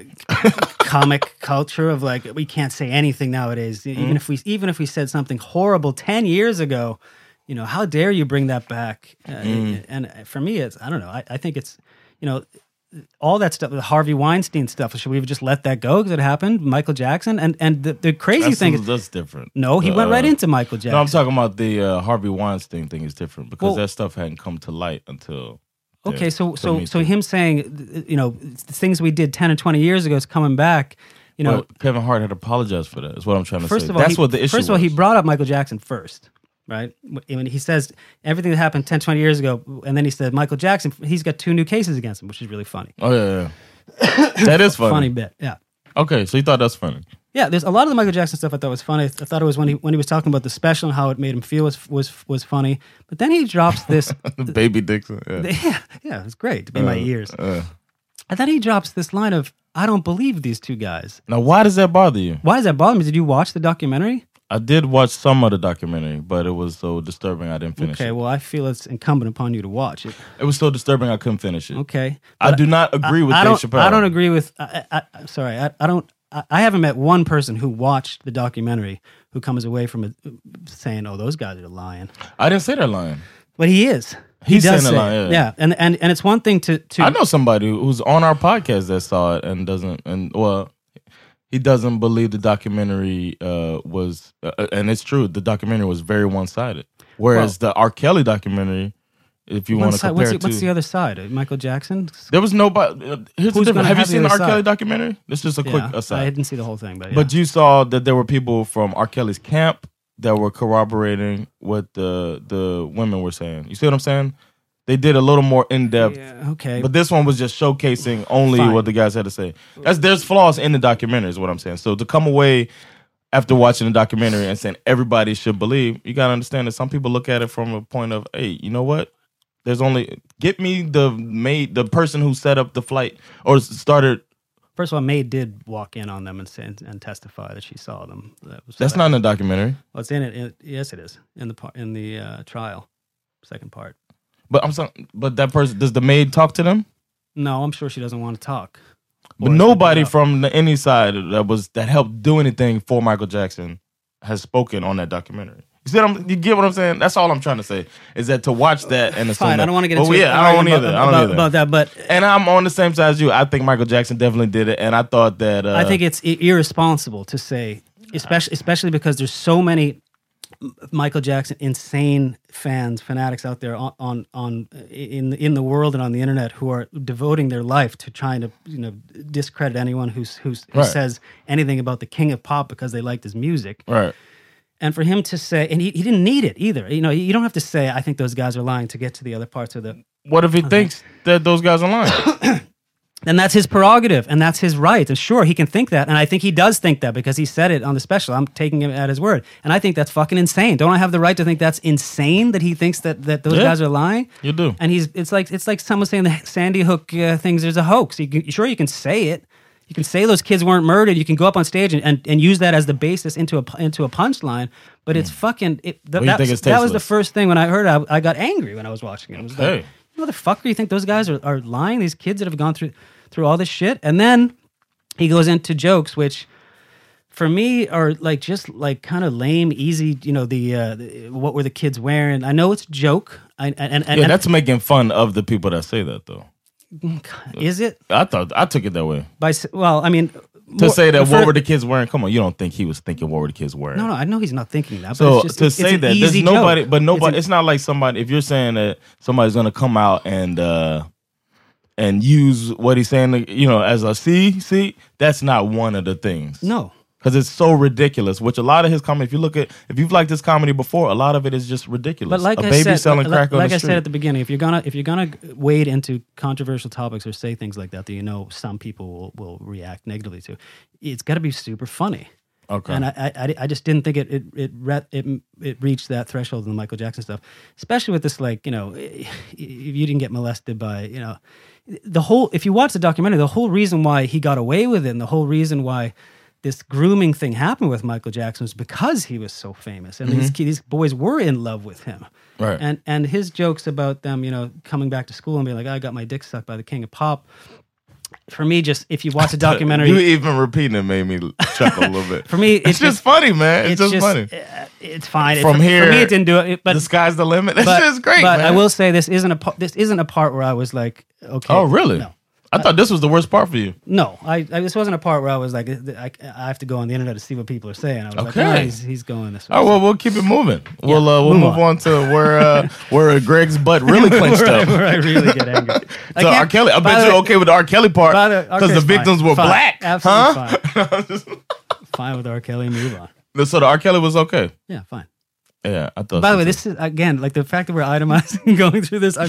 comic culture of like we can't say anything nowadays. E-, Mm-hmm. Even if we even if we said something horrible ten years ago, you know, how dare you bring that back? Uh, Mm. And for me, it's I don't know. I, I think it's you know all that stuff, the Harvey Weinstein stuff. Should we have just let that go because it happened? Michael Jackson and and the, the crazy That's, thing is that's different. no, he The, went right uh, into Michael Jackson. No, I'm talking about the uh, Harvey Weinstein thing is different because Well- that stuff hadn't come to light until. Okay, so to so me so too. him saying, th- you know, th- things we did ten or twenty years ago is coming back. You know, Well, Kevin Hart had apologized for that. Is what I'm trying to first say. of all, that's he, what the issue. First of all, was. he brought up Michael Jackson first, right? Wh- When he says everything that happened 10, 20 years ago, and then he said Michael Jackson, he's got two new cases against him, which is really funny. Oh yeah, yeah. that is funny. Funny bit, yeah. Okay, so you thought that's funny. Yeah, there's a lot of the Michael Jackson stuff I thought was funny. I thought it was when he when he was talking about the special and how it made him feel was was was funny. But then he drops this Baby Dixon. Yeah. yeah, yeah, it was great to be in my ears. uh. And then he drops this line of, I don't believe these two guys. Now, why does that bother you? Why does that bother me? Did you watch the documentary? I did watch some of the documentary, but it was so disturbing I didn't finish Okay, it. well, I feel it's incumbent upon you to watch it. it was so disturbing I couldn't finish it. Okay. I But do not agree with I Dave don't, Chappelle. I don't agree with, I, I, I, sorry, I, I don't, I, I haven't met one person who watched the documentary who comes away from it saying, oh, those guys are lying. I didn't say that line. But he is. He's he does saying a say lot, it. yeah. And, and, and it's one thing to, to I know somebody who's on our podcast that saw it and doesn't, and well, he doesn't believe the documentary uh, was, uh, and it's true. The documentary was very one sided. Whereas the R. Kelly documentary, if you one want to side, compare what's, the, it to, what's the other side? Uh, Michael Jackson? there was nobody. uh, Here's the Who's difference. gonna Have you have the seen the R. other Kelly side? documentary? This is a quick Yeah, I aside. didn't see the whole thing, but, yeah. But you saw that there were people from R. Kelly's camp that were corroborating what the the women were saying. You see what I'm saying? They did a little more in depth. Yeah, okay. But this one was just showcasing only Fine. what the guys had to say. That's there's flaws in the documentary, is what I'm saying. So to come away after watching the documentary and saying everybody should believe, you gotta understand that some people look at it from a point of, hey, you know what? There's only get me the made the person who set up the flight or started. First of all, May did walk in on them and say, and testify that she saw them. That was That's not in the documentary. Well, it's in it. it yes, it is in the par- in the uh, trial, second part. But I'm sorry. But that person does the maid talk to them? No, I'm sure she doesn't want to talk. But Or is it nobody about- from the, any side that was that helped do anything for Michael Jackson has spoken on that documentary. You see, what I'm, you get what I'm saying? That's all I'm trying to say is that to watch that and assume Fine, that- I don't want to get Well, into yeah, an I don't argument either. about, I don't about, either. about that, but and I'm on the same side as you. I think Michael Jackson definitely did it, and I thought that uh, I think it's i- irresponsible to say, especially especially because there's so many M- Michael Jackson insane fans, fanatics out there on on, on in in the world and on the internet who are devoting their life to trying to you know discredit anyone who's, who's who Right. says anything about the king of pop because they liked his music. right. and for him to say and he, he didn't need it either you know you don't have to say i think those guys are lying to get to the other parts of the What if he thinks that those guys are lying? and that's his prerogative and that's his right and sure he can think that and i think he does think that because he said it on the special i'm taking him at his word and i think that's fucking insane don't i have the right to think that's insane that he thinks that that those Yeah. guys are lying you do. and he's it's like it's like someone saying the sandy hook uh, things there's a hoax you can, sure you can say it you can say those kids weren't murdered you can go up on stage and, and, and use that as the basis into a pu- into a punchline but it's fucking it, Well, th- Hmm. you that, think it's that was the tasteless. first thing when i heard it, I, I got angry when i was watching it, it was Okay. like, motherfucker you think those guys are, are lying these kids that have gone through through all this shit and then he goes into jokes which for me are like just like kind of lame easy you know the, uh, the what were the kids wearing i know it's a joke I, and, and, Yeah, and that's making fun of the people that say that though. is it I thought I took it that way by s- well i mean to say that what were the kids? kids wearing? Come on, you don't think he was thinking what were the kids wearing? no no i know he's not thinking that So but it's just, to it's- it's say an that there's easy nobody, joke. but nobody. an- It's, not like somebody. If you're saying that somebody's gonna come out and uh and use what he's saying, you know, as a see, see, that's not one of the things. no because it's so ridiculous. Which a lot of his comedy, if you look at, if you've liked this comedy before, a lot of it is just ridiculous. but like a I baby said, selling like, crack on like the I street. said at the beginning, if you're gonna if you're gonna wade into controversial topics or say things like that that you know some people will, will react negatively to, it's got to be super funny. okay, And I, I- I, I just didn't think it it it, re- it it reached that threshold in the Michael Jackson stuff, especially with this like you know, if you didn't get molested by you know, the whole if you watch the documentary, the whole reason why he got away with it, and the whole reason why this grooming thing happened with Michael Jackson was because he was so famous, and these ki- these boys were in love with him, Mm-hmm. Right. And and his jokes about them, you know, coming back to school and being like, I got my dick sucked by the king of pop. For me, just if you watch the documentary, you even repeating it made me chuckle a little bit. For me, it's it's, just just- funny, man. It's, just, funny. uh, it's fine. It- From for- here, for me, it didn't do it. But the sky's the limit. That's but, just great. But man. I will say this isn't a pa- this isn't a part where I was like, okay. Oh, really? No, I thought this was the worst part for you. no. I, I this wasn't a part where I was like, I, I have to go on the internet to see what people are saying. I was like, Okay. "No, he's, he's going this way. Oh well, we'll keep it moving. We'll uh, we'll move move on, on. to where uh, where Greg's butt really clenched where, I, up. where I really get angry. I So can't- R. Kelly, I by bet the you're way- okay with the R. Kelly part by the- because the okay, fine, victims were fine, black, huh? Absolutely fine. fine with R. Kelly. Move on. So the R. Kelly was okay. Yeah, fine. Yeah, I thought. By so, the way, too. this is again like the fact that we're itemizing going through this. I,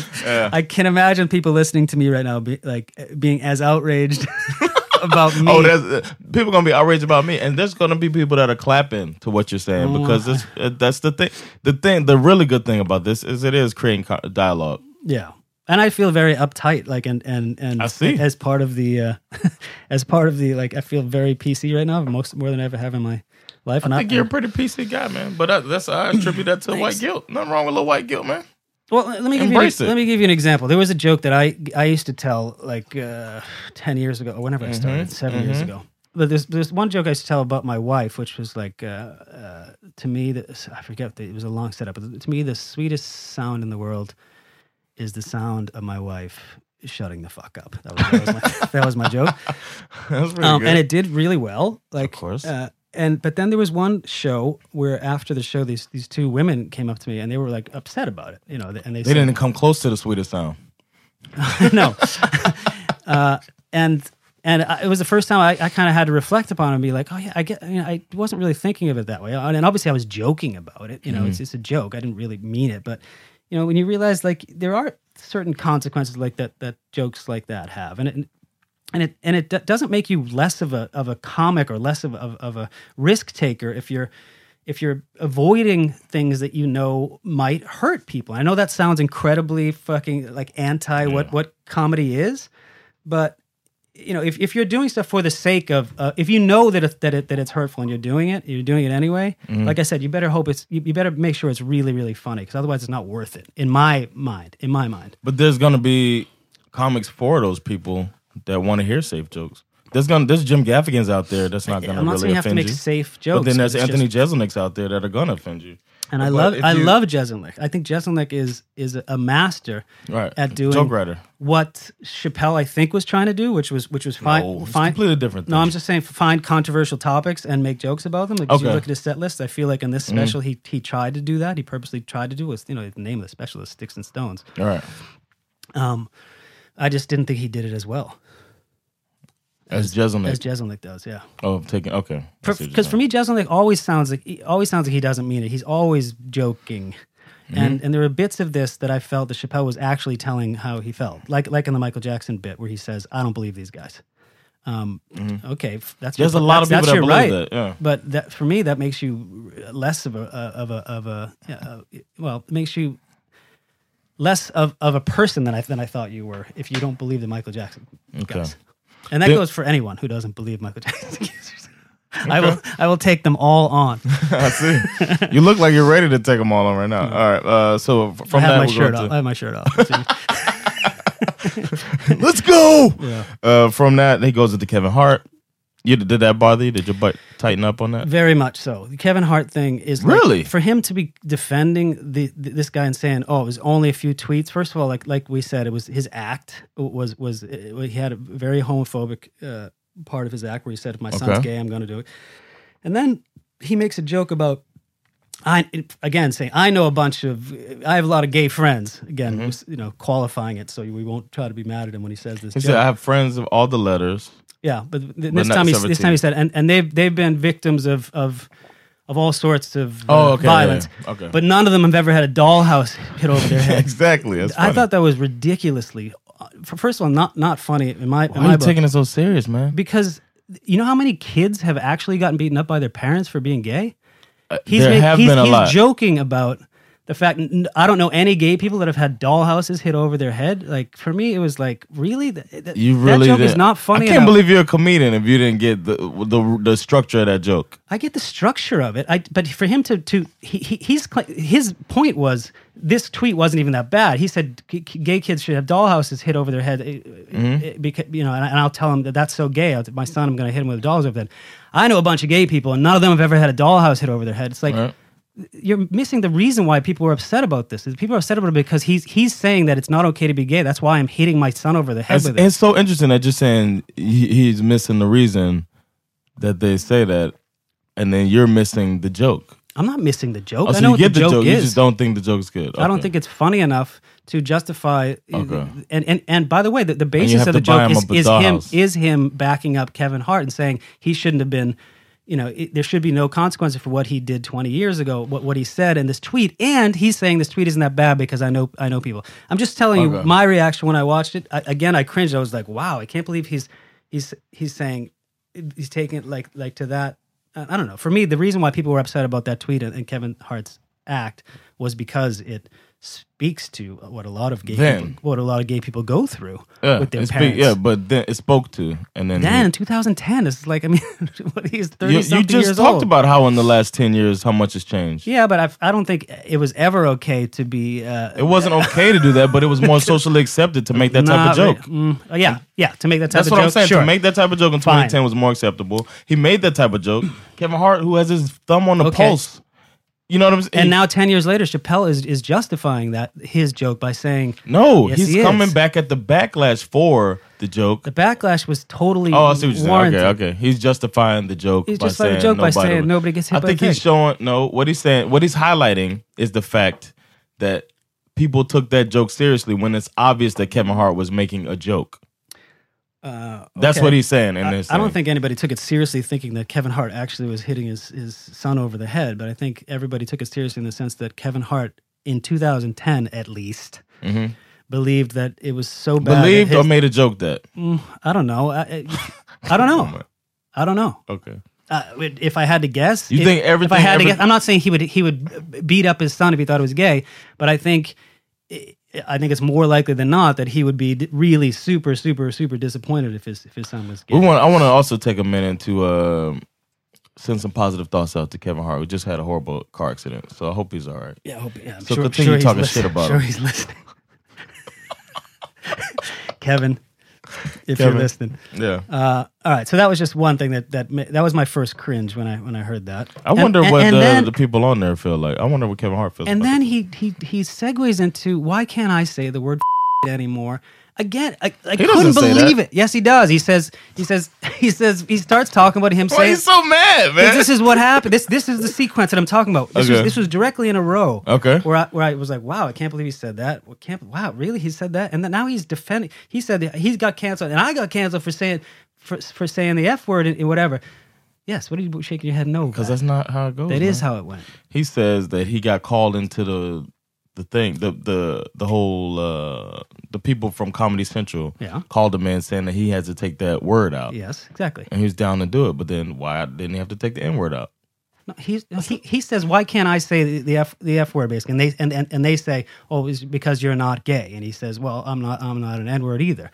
I can imagine people listening to me right now, be, like uh, being as outraged about me. Oh, that's, uh, people gonna be outraged about me, and there's gonna be people that are clapping to what you're saying because it's, uh, that's the thing. The thing, the really good thing about this is it is creating co- dialogue. yeah. And I feel very uptight, like and and and I see. as part of the uh, as part of the like I feel very PC right now, most more than I ever have in my life. And I I, think you're a pretty PC guy, man. But that, that's I attribute that to white guilt. Nothing wrong with a little white guilt, man. Well, let me give you Embrace an, it. let me give you an example. There was a joke that I I used to tell like uh, ten years ago, or whenever I Mm-hmm. started, 7 years ago. But there's there's one joke I used to tell about my wife, which was like uh, uh, to me the, I forget the, it was a long setup, but to me the sweetest sound in the world is the sound of my wife shutting the fuck up. That was, that was, my, that was my joke That's pretty um, good. and it did really well. Like, of course. Uh, and but then there was one show where after the show, these these two women came up to me and they were like upset about it, you know, and they, they said, didn't come close to the sweetest sound. no. uh, and and I, it was the first time I, I kind of had to reflect upon it and be like, oh yeah, I get. You know, I wasn't really thinking of it that way, Uh, and and obviously I was joking about it. You know, it's it's a joke. I didn't really mean it, but you know, when you realize like there are certain consequences like that that jokes like that have, and it, and it and it d- doesn't make you less of a of a comic or less of of, of a risk taker if you're if you're avoiding things that you know might hurt people. I know that sounds incredibly fucking like anti what what comedy is, but you know if, if you're doing stuff for the sake of uh, if you know that it, that it that it's hurtful and you're doing it you're doing it anyway like i said you better hope it's you, you better make sure it's really really funny because otherwise it's not worth it in my mind in my mind But there's gonna be comics for those people that want to hear safe jokes. There's gonna there's Jim Gaffigan's out there that's not gonna i'm really not saying you have to offend make you. safe jokes But then there's it's just- Anthony Jeselnik's out there that are gonna offend you. and i But love if i you- love jeselnik i think jeselnik is is a master Right. at doing joke writer. what chappelle i think was trying to do which was which was fine No, it's fine completely different. No, thing. I'm just saying find controversial topics and make jokes about them. Like if you Okay. Mm-hmm. look at his set list, I feel like in this special he he tried to do that. He purposely tried to do was you know the name of the special is Sticks and Stones. all right. Um, I just didn't think he did it as well As Jeselnik. as Jeselnik does. Yeah, oh, taking okay. I see what you're because for saying. me Jeselnik always sounds like he always sounds like he doesn't mean it. He's always joking. And and there were bits of this that I felt that Chappelle was actually telling how he felt, like like in the Michael Jackson bit where he says, "I don't believe these guys." Um, okay, f- that's there's your- a lot of that's- people that believe that's your right. that. Yeah. but that for me that makes you less of a of a of a uh, well it makes you less of, of a person than I than I thought you were if you don't believe the Michael Jackson guys. And that Then- goes for anyone who doesn't believe Michael Jackson. guys. I will I will take them all on. I see. You look like you're ready to take them all on right now. All right. Uh, so f- Hmm. I from have that, my we're shirt going off. to- I have my shirt off. Let's go. Uh, from that, he goes into Kevin Hart. You did that bother you? Did your butt tighten up on that? Very much so. The Kevin Hart thing is like- Really? for him to be defending the, th this guy and saying, "Oh, it was only a few tweets." First of all, like like we said, it was his act was was it, he had a very homophobic uh, part of his act where he said, "If my son's Okay. gay, I'm going to do it," and then he makes a joke about. I again saying I know a bunch of I have a lot of gay friends again was, Mm-hmm. you know qualifying it so we won't try to be mad at him when he says this. He joke. said, "I have friends of all the letters." Yeah, but th- th- this not time he, this 17. time he said, and, and they've they've been victims of of of all sorts of uh, Oh, okay, yeah, violence. yeah, okay. But none of them have ever had a dollhouse hit over their heads. Exactly. That's I funny. thought that was ridiculously. uh, f- First of all, not not funny in my in Why are my you book taking it so serious, man? because you know how many kids have actually gotten beaten up by their parents for being gay. He's Uh, there ma- have he's, been a he's lot. joking about the fact n- I don't know any gay people that have had dollhouses hit over their head. Like for me, it was like really Th- th- You really that joke is didn't- not funny. I can't enough. believe you're a comedian if you didn't get the the, the structure of that joke. I get the structure of it. I, but for him to to he, he he's cla- his point was this tweet wasn't even that bad. He said g- g- gay kids should have dollhouses hit over their head eh, Mm-hmm. because you know, and, I- and I'll tell him that that's so gay. I'll, my son, I'm going to hit him with a dollhouse over their head. I know a bunch of gay people, and none of them have ever had a dollhouse hit over their head. It's like you're missing the reason why people are upset about this. Is People are upset about it because he's he's saying that it's not okay to be gay. That's why I'm hitting my son over the head It's, with it. it's so interesting that you're saying he, he's missing the reason that they say that, and then you're missing the joke. I'm not missing the joke. Oh, I so know you what get the joke, you is. just don't think the joke's good. I don't Okay. think it's funny enough to justify. Okay. And, and and by the way, the, the you basis have of the to buy joke him is, a is him dollhouse. is him backing up Kevin Hart and saying he shouldn't have been. You know, it, there should be no consequence for what he did 20 years ago, what what he said in this tweet, and he's saying this tweet isn't that bad because I know I know people. I'm just telling you Okay. my reaction when I watched it. I, again, I cringed. I was like, wow, I can't believe he's he's he's saying he's taking it like like to that I I don't know. For me, the reason why people were upset about that tweet and, and Kevin Hart's act was because it speaks to what a lot of gay Then. people, what a lot of gay people go through yeah, with their it speak- parents. yeah, but then it spoke to, and then then in 2010, it's like I mean, what he's you, thirty you- you something just years talked old. about how in the last ten years how much has changed. yeah, but I've, I don't think it was ever okay to be. It Uh, wasn't okay to do that, but it was more socially accepted to make that type of not re- joke. mm, yeah, yeah, to make that type That's of what joke. I'm saying. Sure. To make that type of joke in Fine. 2010 was more acceptable. He made that type of joke. Kevin Hart, who has his thumb on the Okay. pulse, you know what I'm saying? and now ten years later, Chappelle is is justifying that his joke by saying no, Yes, he's he is. coming back at the backlash for the joke. the backlash was totally Oh, I see what you're saying. warranted. Okay, okay. He's justifying the joke. He's by justifying the saying joke by nobody saying would- nobody gets hit I by a think he's pig. showing no. What he's saying, what he's highlighting, is the fact that people took that joke seriously when it's obvious that Kevin Hart was making a joke. Uh, That's okay. what he's saying. And I, I don't think anybody took it seriously thinking that Kevin Hart actually was hitting his, his son over the head, but I think everybody took it seriously in the sense that Kevin Hart in 2010 at least believed that it was so bad. that Mm-hmm. Believed or his- made a joke that? I don't know. I, I- I don't know. I don't know. Okay. Uh, it- if I had to guess, You if- think If I everything- had every- to guess, I'm not saying he would he would beat up his son if he thought it was gay, but I think I think it's more likely than not that he would be d- really super super super disappointed if his if his son was gay. We want. I want to also take a minute to um send some positive thoughts out to Kevin Hart. We just had a horrible car accident, so I hope he's all right. Yeah, I hope, yeah, I'm So sure, continue sure he's talking listening. shit about sure him. he's listening. Kevin, if Kevin. you're listening. Yeah. Uh, all right, so that was just one thing that that ma- that was my first cringe when I when I heard that. I wonder and, what and the, then, the people on there feel like. I wonder what Kevin Hart feels. and about then it. he he he segues into why can't I say the word anymore? Again, I, I He couldn't doesn't say that. believe it. Yes, he does. He says he says he says he starts talking about him Why saying he's so mad, man? because this is what happened. This this is the sequence that I'm talking about. This, Okay. was, this was directly in a row. Okay. Where I, where I was like, wow, I can't believe he said that. Well, can't wow, really? He said that, and then now he's defending. He said that he's got canceled, and I got canceled for saying for, for saying the f word and, and whatever. Yes. What are you shaking your head? No. because that's not how it goes. that is man. how it went. he says that he got called into the the thing the the the whole uh the people from Comedy Central Yeah. called him in saying that he has to take that word out. Yes. Exactly. And he was down to do it, but then why didn't he have to take the N word out? No, he's, he he says, "Why can't I say the, the f the f word?" Basically, and they and, and, and they say, "Oh, it's because you're not gay." And he says, "Well, I'm not I'm not an n word either,"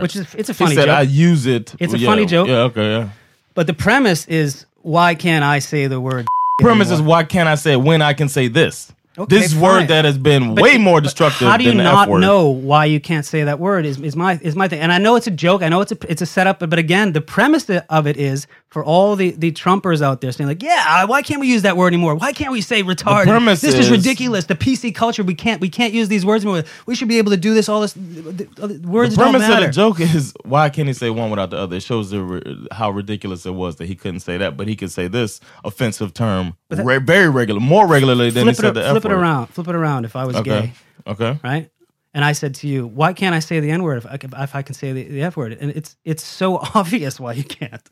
which is it's a funny he said, joke. "I use it." It's a Yeah, funny joke. Yeah, okay, yeah. but the premise is, why can't I say the word? Premise is why can't I say it when I can say this? Okay, this word fine. that has been But- way more but destructive How do you than the not F word. know why you can't say that word? Is, is my is my thing, and I know it's a joke. I know it's a it's a setup, but, but again, the premise of it is for all the the Trumpers out there saying like, yeah, why can't we use that word anymore? Why can't we say retarded? premise this is- is ridiculous. The PC culture, we can't we can't use these words anymore. We should be able to do this. All this the, the- the words The premise don't of matter. the joke is why can't he say one without the other? It shows the, ri- how ridiculous it was that he couldn't say that, but he could say this offensive term re- very regular, more regularly than he Flip, said it, the flip F it word. around. Flip it around. If I was Okay, gay, okay. right? And I said to you, why can't I say the N word if I, can- if I can say the, the F word? And it's it's so obvious why you can't.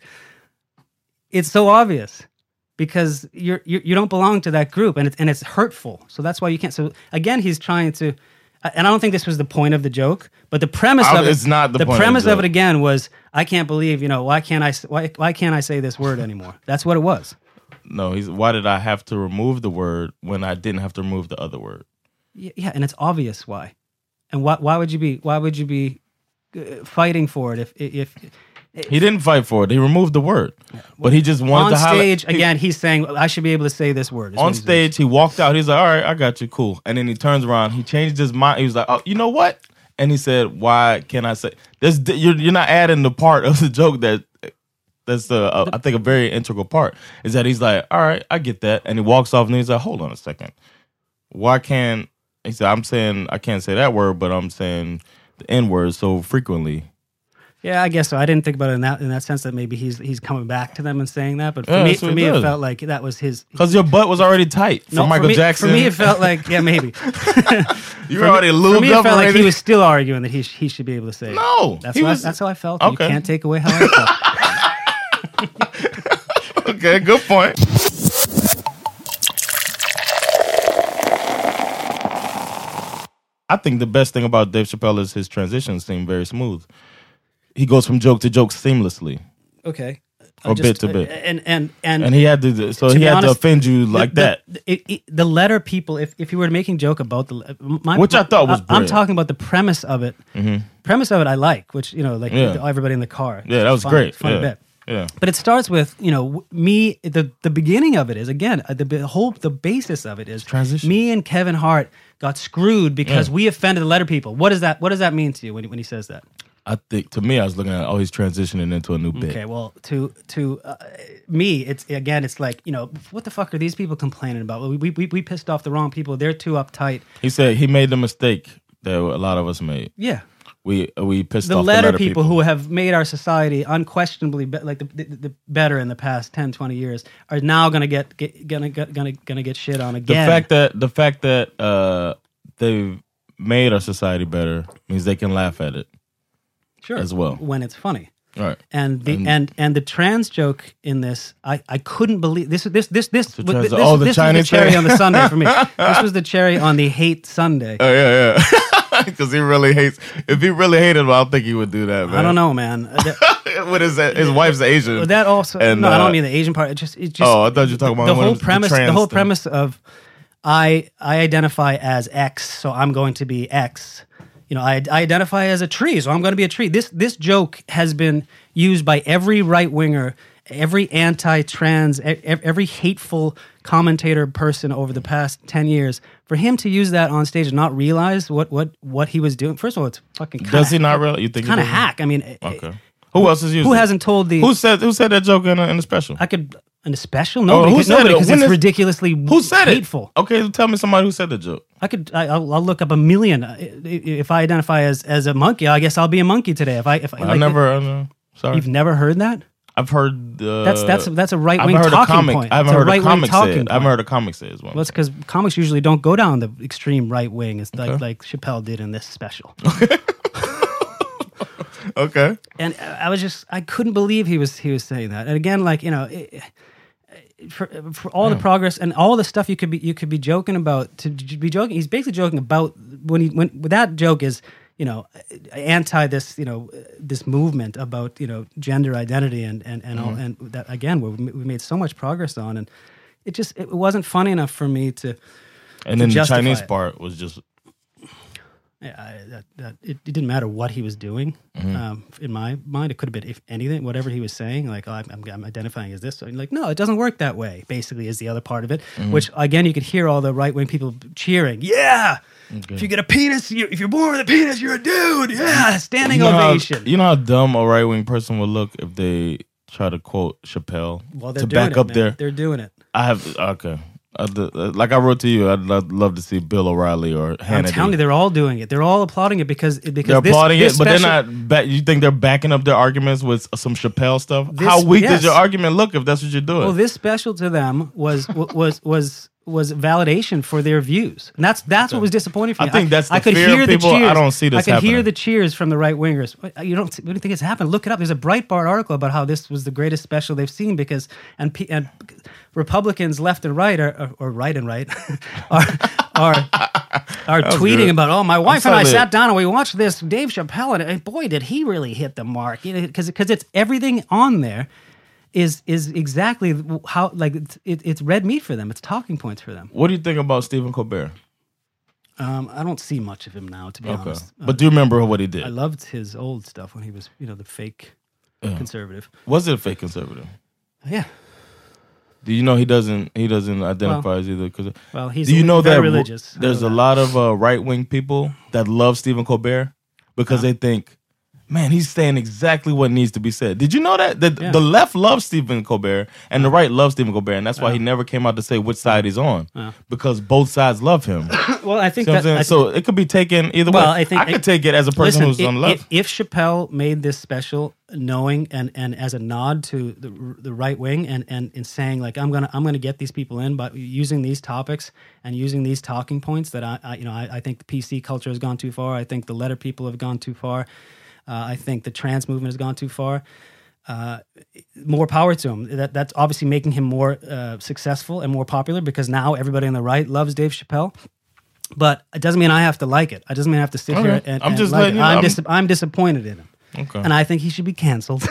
It's so obvious because you're, you're you don't belong to that group, and it's and it's hurtful. So that's why you can't. So again, he's trying to, uh, and I don't think this was the point of the joke, but the premise I- of it, it's not the point of the premise of joke. it again was I can't believe you know why can't I s- why why can't I say this word anymore? That's what it was. No, he's why did I have to remove the word when I didn't have to remove the other word? Y- yeah and it's obvious why and why why would you be why would you be uh, fighting for it if if He didn't fight for it. He removed the word, but he just wanted on to highlight. stage again he's saying i should be able to say this word is what on he's saying. stage, he walked out. He's like, "All right, I got you, cool." And then he turns around. He changed his mind. He was like, "Oh, you know what?" And he said, "Why can I say this? You're, you're not adding the part of the joke that that's the uh, I think a very integral part is that he's like, "All right, I get that," and he walks off. And he's like, "Hold on a second, why can't?" He said, "I'm saying I can't say that word, but I'm saying the N word so frequently." yeah i guess so i didn't think about it in that in that sense that maybe he's he's coming back to them and saying that but for Yeah, me that's what for he me it does. felt like that was his Because your butt was already tight for No, Michael me- Jackson. for me it felt like yeah maybe you were already for me lubed it up felt like already. he was still arguing that he sh- he should be able to say it. No, that's he how I, was- that's how i felt Okay. you can't take away how i felt okay, good point. I think the best thing about Dave Chappelle is his transitions seem very smooth. He goes from joke to joke seamlessly, okay Or I'm bit to bit. and and and and he had to. So To he be had honest, to offend you like the, that. The, it, it- the letter people, if, if you were making joke about the, le- my, Which I thought was I, am brilliant. talking about the premise of it. Premise of it, I like, which you know, like Yeah. the- everybody in the car. Yeah, that was Fun- great. Fun yeah. bit. yeah. But it starts with you know w- me. The the beginning of it is again uh, the, b- whole the basis of it is Transition. Me and Kevin Hart got screwed because we offended the letter people. What does that What does that mean to you when when he says that? I think to me, I was looking at oh, he's transitioning into a new bit. Okay, well, to to uh, me, it's again, it's like you know, what the fuck are these people complaining about? We we we- we pissed off the wrong people. They're too uptight. He said he made the mistake that a lot of us made. Yeah, We we pissed the off letter, the letter people, who have made our society unquestionably be- like the, the, the better in the past 10, 20 years are now gonna get, get gonna get- gonna gonna get shit on the again. fact that the fact that uh, they've made our society better means they can laugh at it sure, as well. when it's funny. All right. and the and, and the trans joke in this, I, I couldn't believe this this this this this, trans- this, oh, the this was Chinese the cherry thing. Oh, on the Sunday for me. This was the cherry on the hate Sunday. yeah, yeah. Because he really hates. If he really hated him, I don't think he would do that. Man. I don't know, man. Uh, that- what is that? His wife's Asian. But that also And, no, I uh, don't mean the Asian part. It just it just Oh, I thought you were talking about the one of whole the premise. The, trans whole thing. premise of I I identify as X, so I'm going to be X. You know, I, I identify as a tree, so I'm going to be a tree. This this joke has been used by every right winger, every anti-trans, e- e- every hateful commentator person over the past ten years. For him to use that on stage and not realize what what what he was doing. First of all, it's fucking. Kinda, Does he not really? You think he Kind of doesn't? hack. I mean, e, Okay. Who else is using? who it? hasn't told the Who said who said that joke in a, in a special? I could in a special. Nobody, Oh, who could- said nobody, it? because When it's is- ridiculously Who said hateful. it? Okay, tell me somebody who said the joke. I could. I, I'll, I'll look up a million. Uh, i- i- If I identify as as a monkey, I guess I'll be a monkey today. If I if I never. I know. Sorry, You've never heard that? I've heard. Uh, That's- that's- that's a right-wing I've heard talking a comic. point. I haven't It's a heard a right-wing comic say. talking it. I haven't point. heard a comic say it. Well, it's because comics usually don't go down the extreme right wing. It's like like Chappelle did in this special. okay. and I I was just I couldn't believe he was he was saying that. And again, like you know, it, for, for all the progress and all the stuff you could be you could be joking about to j- be joking. He's basically joking about when he when that joke is you know anti this you know this movement about you know gender identity and and and Mm-hmm. all, and that again we we made so much progress on and it just it wasn't funny enough for me to. and then the justify Chinese it. part was just Yeah, I, that, that, it, it didn't matter what he was doing. Mm-hmm. Um, in my mind, it could have been if anything, whatever he was saying, like oh, I'm, I'm, I'm identifying as this. And like, no, it doesn't work that way. Basically, is the other part of it, Mm-hmm. which again, you could hear all the right wing people cheering. Yeah, if you get a penis, you, if you're born with a penis, you're a dude. Yeah, standing Mm-hmm. You know how- ovation. you know how dumb a right wing person would look if they try to quote Chappelle well, they're to doing back it, up man. their. They're doing it. I have okay. I d- uh, like I wrote to you, I'd lo- love to see Bill O'Reilly or Hannity. I'm telling you, they're all doing it. They're all applauding it because because they're this- applauding this it, but they're special- not. Back, you think they're backing up their arguments with some Chappelle stuff? This- How weak yes. does your argument look if that's what you're doing? Well, this special to them was wa- was was was validation for their views, and that's that's what was disappointing for I me. think that's the fear of people. I don't see this I could hear happening. the cheers from the right wingers. What- uh, You don't see- what do you think it's happened? Look it up. There's a Breitbart article about how this was the greatest special they've seen because and P- and Republicans left and right are, or right and right are are are tweeting good. about oh my wife and I sorry. sat down and we watched this Dave Chappelle and, and boy did he really hit the mark because because it's everything on there is is exactly how like it's, it, it's red meat for them it's talking points for them what do you think about Stephen Colbert? um, I don't see much of him now to be Okay, honest Uh, but do you remember what he I did? loved his old stuff when he was you know the fake conservative Was it a fake conservative? yeah Do you know he doesn't? He doesn't identify as either. Cause well, he's do you know very that religious. I know There's a that. lot of uh, right wing people that love Stephen Colbert because they think, man, he's saying exactly what needs to be said. Did you know that the, the left loves Stephen Colbert and the right loves Stephen Colbert, and that's why he Uh-huh. never came out to say which side he's on because both sides love him. well I think See what I'm that saying? I- so it could be taken either Well, way. I think- I could take it as a person Listen, who's i- on the i- left. If Chappelle made this special, knowing and and as a nod to the, the right wing, and and in saying like I'm gonna I'm gonna get these people in, but using these topics and using these talking points that I, I you know I, I think the PC culture has gone too far. I think the letter people have gone too far. Uh, I think the trans movement has gone too far. Uh, more power to him. That that's obviously making him more uh, successful and more popular because now everybody on the right loves Dave Chappelle but it doesn't mean I have to like it. It doesn't mean I have to sit here Okay. and, I'm and just like letting it. you know, I'm, I'm- dis- I'm disappointed in him, Okay. and I think he should be canceled.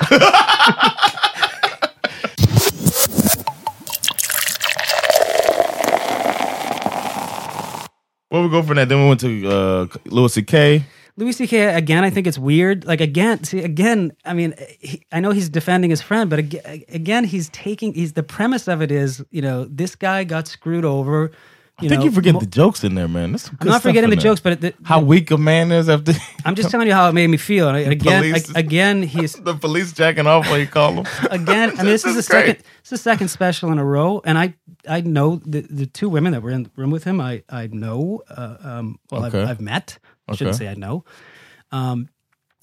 Where we go from that? Then we went to uh, Louis C.K. Louis C.K. again, I think it's weird. Like again, see again. I mean, he, I know he's defending his friend, but aga again, he's taking. He's the premise of it is you know this guy got screwed over. I think know, you forget mo- the jokes in there, man. That's some good I'm not stuff forgetting the in there. jokes, but it, the, how weak a man is after I'm just telling you how it made me feel. And again, Police. ag- again, he's The police jacking off, what you call them? again. I mean, this, is the is great. second. This is the second special in a row, and I I know the, the two women that were in the room with him. I I know. Uh, um, well, Okay. I've, I've met. I shouldn't Okay. say I know. Um,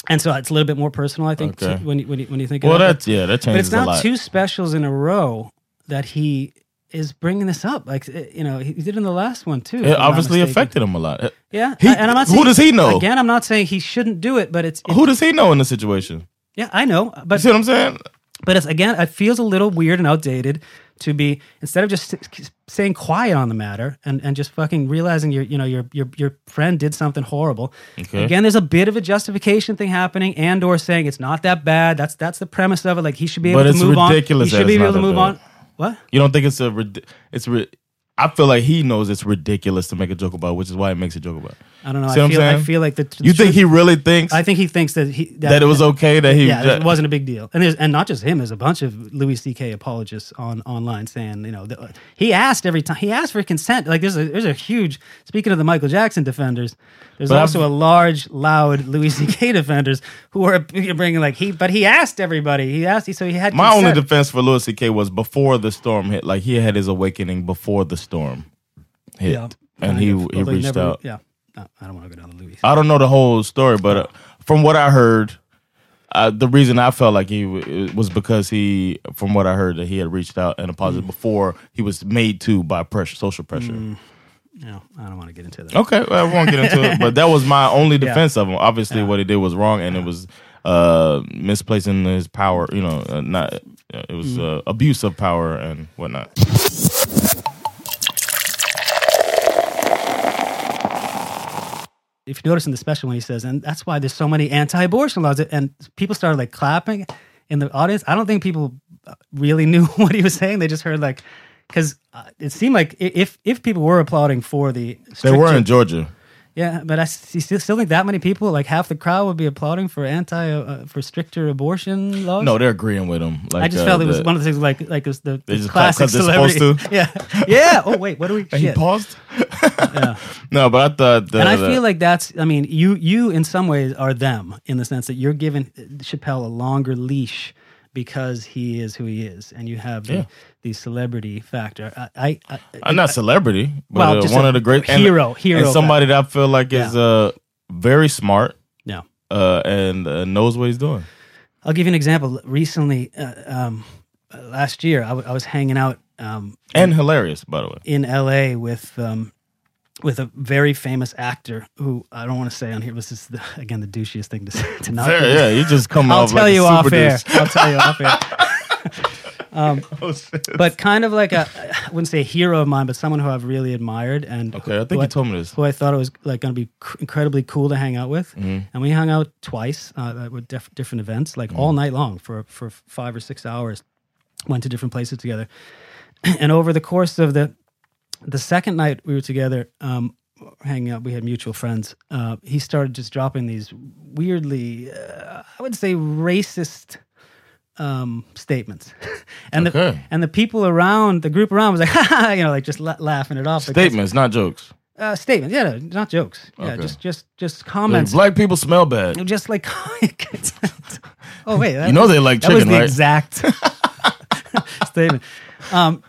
and so it's a little bit more personal, I think, Okay. to- when you, when you, when you think. Well, of that's it. yeah, that But changes it's not a lot. two specials in a row that he is bringing this up. Like it- you know, he did in the last one too. if I'm it not obviously mistaken. affected him a lot. Yeah, He- I- and I'm not who saying, does he know? Again, I'm not saying he shouldn't do it, but it's it, Who does he know in the situation? yeah, I know, You but see what I'm saying? but it's again, it feels a little weird and outdated to be instead of just s- staying quiet on the matter and, and just fucking realizing your you know your your your friend did something horrible. Okay. Again, there's a bit of a justification thing happening, and or saying it's not that bad. That's that's the premise of it. Like he should be able But to it's move on. ridiculous He that should be it's able not to that move bad. on. What? You don't think it's a rid- it's ri- I feel like he knows it's ridiculous to make a joke about, which is why he makes a joke about. it. I don't know. See what I I'm feel. I saying? feel like the. the you think truth- he really thinks I think he thinks that he that, it was okay that he yeah that it wasn't a big deal and there's and not just him there's a bunch of Louis C.K. apologists on online saying you know that, uh, he asked every time he asked for consent like there's a there's a huge speaking of the Michael Jackson defenders there's But I've- also a large loud Louis C.K. defenders who are bringing like he but he asked everybody he asked so he had My consent. only defense for Louis C.K. was before the storm hit. Like he had his awakening before the storm hit, Yeah, and kind he of, he although reached never- out. yeah No, I don't want to go down the Louis I don't know the whole story, but uh, from what I heard, uh, the reason I felt like he w- it was because he, from what I heard, that he had reached out and Mm. apologized before he was made to by pressure, social pressure. no I don't want to get into that Okay, well, I won't get into it, but that was my only Yeah. defense of him. Obviously, what he did was wrong, and it was uh, misplacing his power. You know, uh, not uh, it was Mm. uh, abuse of power and whatnot. if you notice in the special when he says, and that's why there's so many anti-abortion laws, and people started like clapping in the audience. I don't think people uh, really knew what he was saying. They just heard like, because it seemed like i- if if people were applauding for the, They were in stricter- Georgia. Yeah, but I s- you still, still think that many people, like half the crowd, would be applauding for anti uh, for stricter abortion laws. No, they're agreeing with him. Like, I just uh, felt it was the- one of the things like like it was the, They the just clap classic 'cause they're supposed celebrity. Yeah, yeah. Oh wait, what do we? He shit. paused. No, but I thought. That, and I that- feel like that's, I mean, you you in some ways are them in the sense that you're giving Chappelle a longer leash because he is who he is, and you have the, Yeah. the celebrity factor. I, I, I I'm not celebrity, but Well, uh, just one a of the great and- hero- hero and somebody that I feel like is uh, very smart. Yeah. uh, and uh, knows what he's doing. I'll give you an example. Recently, uh, um, uh, last year, I, w- I was hanging out um, And hilarious, by the way. in L.A. with um, with a very famous actor who I don't want to say on here. This is the, again the douchiest thing to say. To not Fair, do. yeah, you just come I'll off tell like a you super off air. douche. I'll tell you off air. Um, but kind of like a, I wouldn't say a hero of mine, but someone who I've really admired and okay, I think you told me this. Who I thought it was like going to be cr- incredibly cool to hang out with, Mhm. and we hung out twice uh, at diff- different events, like Mm-hmm. all night long for for five or six hours. Went to different places together, and over the course of the the second night we were together, um, hanging out, we had mutual friends. Uh, he started just dropping these weirdly, uh, I would say, racist um, statements, and the Okay. and the people around the group around was like, "Ha, ha, ha," you know, like just la- laughing it off. because- Statements, not jokes. uh, statements, yeah, no, not jokes. Yeah, Okay. just just just comments. Like, black people smell bad. just like, oh wait, that You know was- they like that was chicken, the right? Exact statement. Um,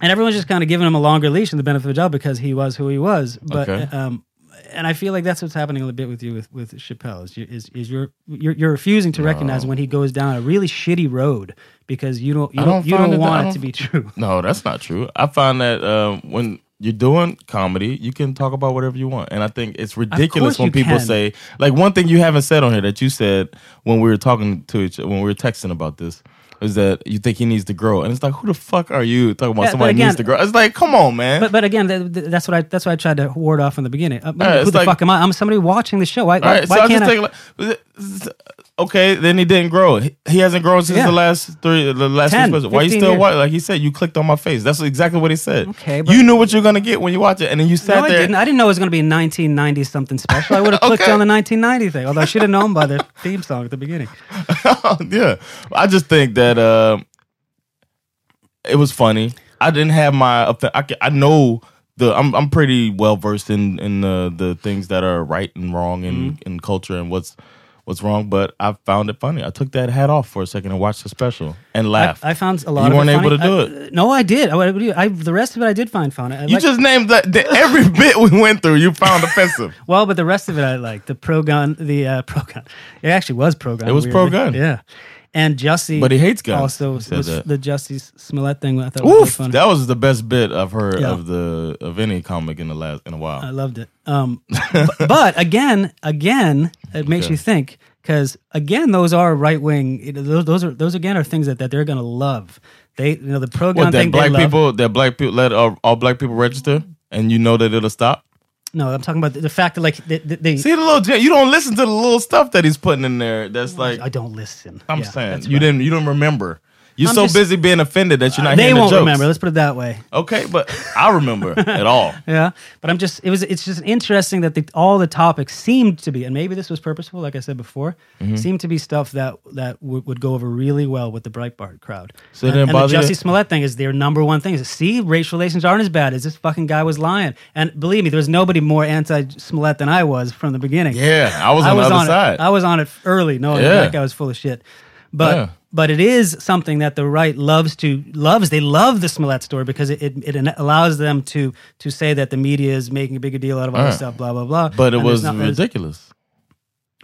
and everyone's just kind of giving him a longer leash and the benefit of the doubt because he was who he was. But Okay. um, and I feel like that's what's happening a little bit with you with with Chappelle is you, is is you're you're, you're refusing to recognize when he goes down a really shitty road because you don't you I don't, you find that- don't want I it to be don't- true. No, that's not true. I find that um, when you're doing comedy, you can talk about whatever you want, and I think it's ridiculous course when you people can. say like one thing you haven't said on here that you said when we were talking to each when we were texting about this is that you think he needs to grow, and it's like who the fuck are you talking about? Yeah, but somebody again- needs to grow. It's like come on, man. But but again, th- th- that's what I that's what I tried to ward off in the beginning. Uh, right, who it's the like- fuck am I? I'm somebody watching the show. Why, All right, why so I can't just I? think like, okay, then he didn't grow. He, he hasn't grown since Yeah. the last three, the last 10, three specials. Why you 15 still years. watch? Like he said, you clicked on my face. That's exactly what he said. Okay, but- you knew what you're gonna get when you watch it, and then you no, sat I there. didn't. I didn't know it was going to be a 1990 something special. I would have clicked Okay. on the 1990 thing, although I should have known by the theme song at the beginning. yeah, I just think that uh, it was funny. I didn't have my. offe- I ca- I know the. I'm I'm pretty well versed in in the the things that are right and wrong in Mm-hmm. in culture and what's what's wrong. But I found it funny. I took that hat off for a second and watched the special and laughed. I, I found a lot. You of it weren't able funny. to do I- uh, it. No, I did. I, I, I- the rest of it I did find funny. I You liked- just named the, the, every bit we went through. You found offensive. well, but the rest of it I liked. The pro gun, the uh, pro gun. It actually was pro gun. It was weirdly. pro-gun. Yeah. And Jussie, But he hates guns. Also, He said was that. the Jussie Smollett thing. I thought was Oof, funny. that was the best bit I've heard Yeah. of the of any comic in the last in a while. I loved it. Um, b- but again, again, it makes Okay. you think because again, those are right wing. Those, those are those again are things that, that they're gonna love. They you know the pro gun What thing that they black love. people that black people let all, all black people register, and you know that it'll stop. No, I'm talking about the, the fact that like they, they, they- See the little j- you don't listen to the little stuff that he's putting in there. That's like I don't listen. I'm Yeah, saying that's you didn't you don't remember. You're I'm so just- busy being offended that you're not. they hearing won't the jokes. remember. Let's put it that way. Okay, but I remember at all. Yeah, but I'm just it was it's just interesting that the, all the topics seemed to be, and maybe this was purposeful, like I said before, Mhm. seemed to be stuff that that would would go over really well with the Breitbart crowd. So it and, didn't and the bother you? Jussie Smollett thing is their number one thing is see race relations aren't as bad as this fucking guy was lying, and believe me, there was nobody more anti Smollett than I was from the beginning. Yeah, I was on the other it- side. I was on it early. No, Yeah. that guy was full of shit. But Yeah. but it is something that the right loves to loves. They love the Smollett story because it, it, it allows them to to say that the media is making a bigger deal out of all All this right. stuff, blah blah blah. But it And was it's not- it's- ridiculous.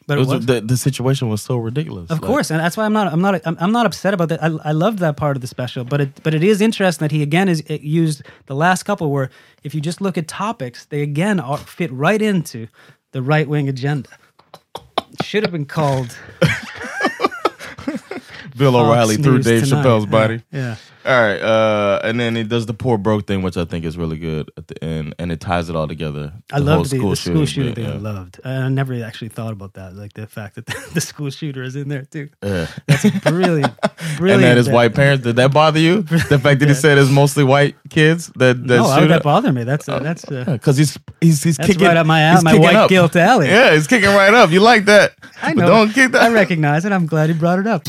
But it was- the, the situation was so ridiculous. Of Like, course, and that's why I'm not I'm not I'm, I'm not upset about that. I I loved that part of the special, but it but it is interesting that he again is it used the last couple where if you just look at topics, they again are, fit right into the right wing agenda. Should have been called Bill Fox O'Reilly threw News Dave tonight. Chappelle's Yeah, body. yeah. All right. Uh, and then he does the poor broke thing, which I think is really good at the end, and it ties it all together. I The whole loved the, the school bit, shooting thing. I yeah. loved. I I never actually thought about that, like the fact that the, school shooter is in there too. Yeah. That's brilliant, and brilliant. that his white parents did that bother you? The fact that he said it's mostly white kids that that Oh, no, why shoot would that up? bother me? That's uh, that's uh, because he's he's he's That's kicking right up my alley- he's my kicking white up. guilt alley. Yeah, he's kicking right up. You like that? I But know. don't kick that. I recognize it. I'm glad he brought it up.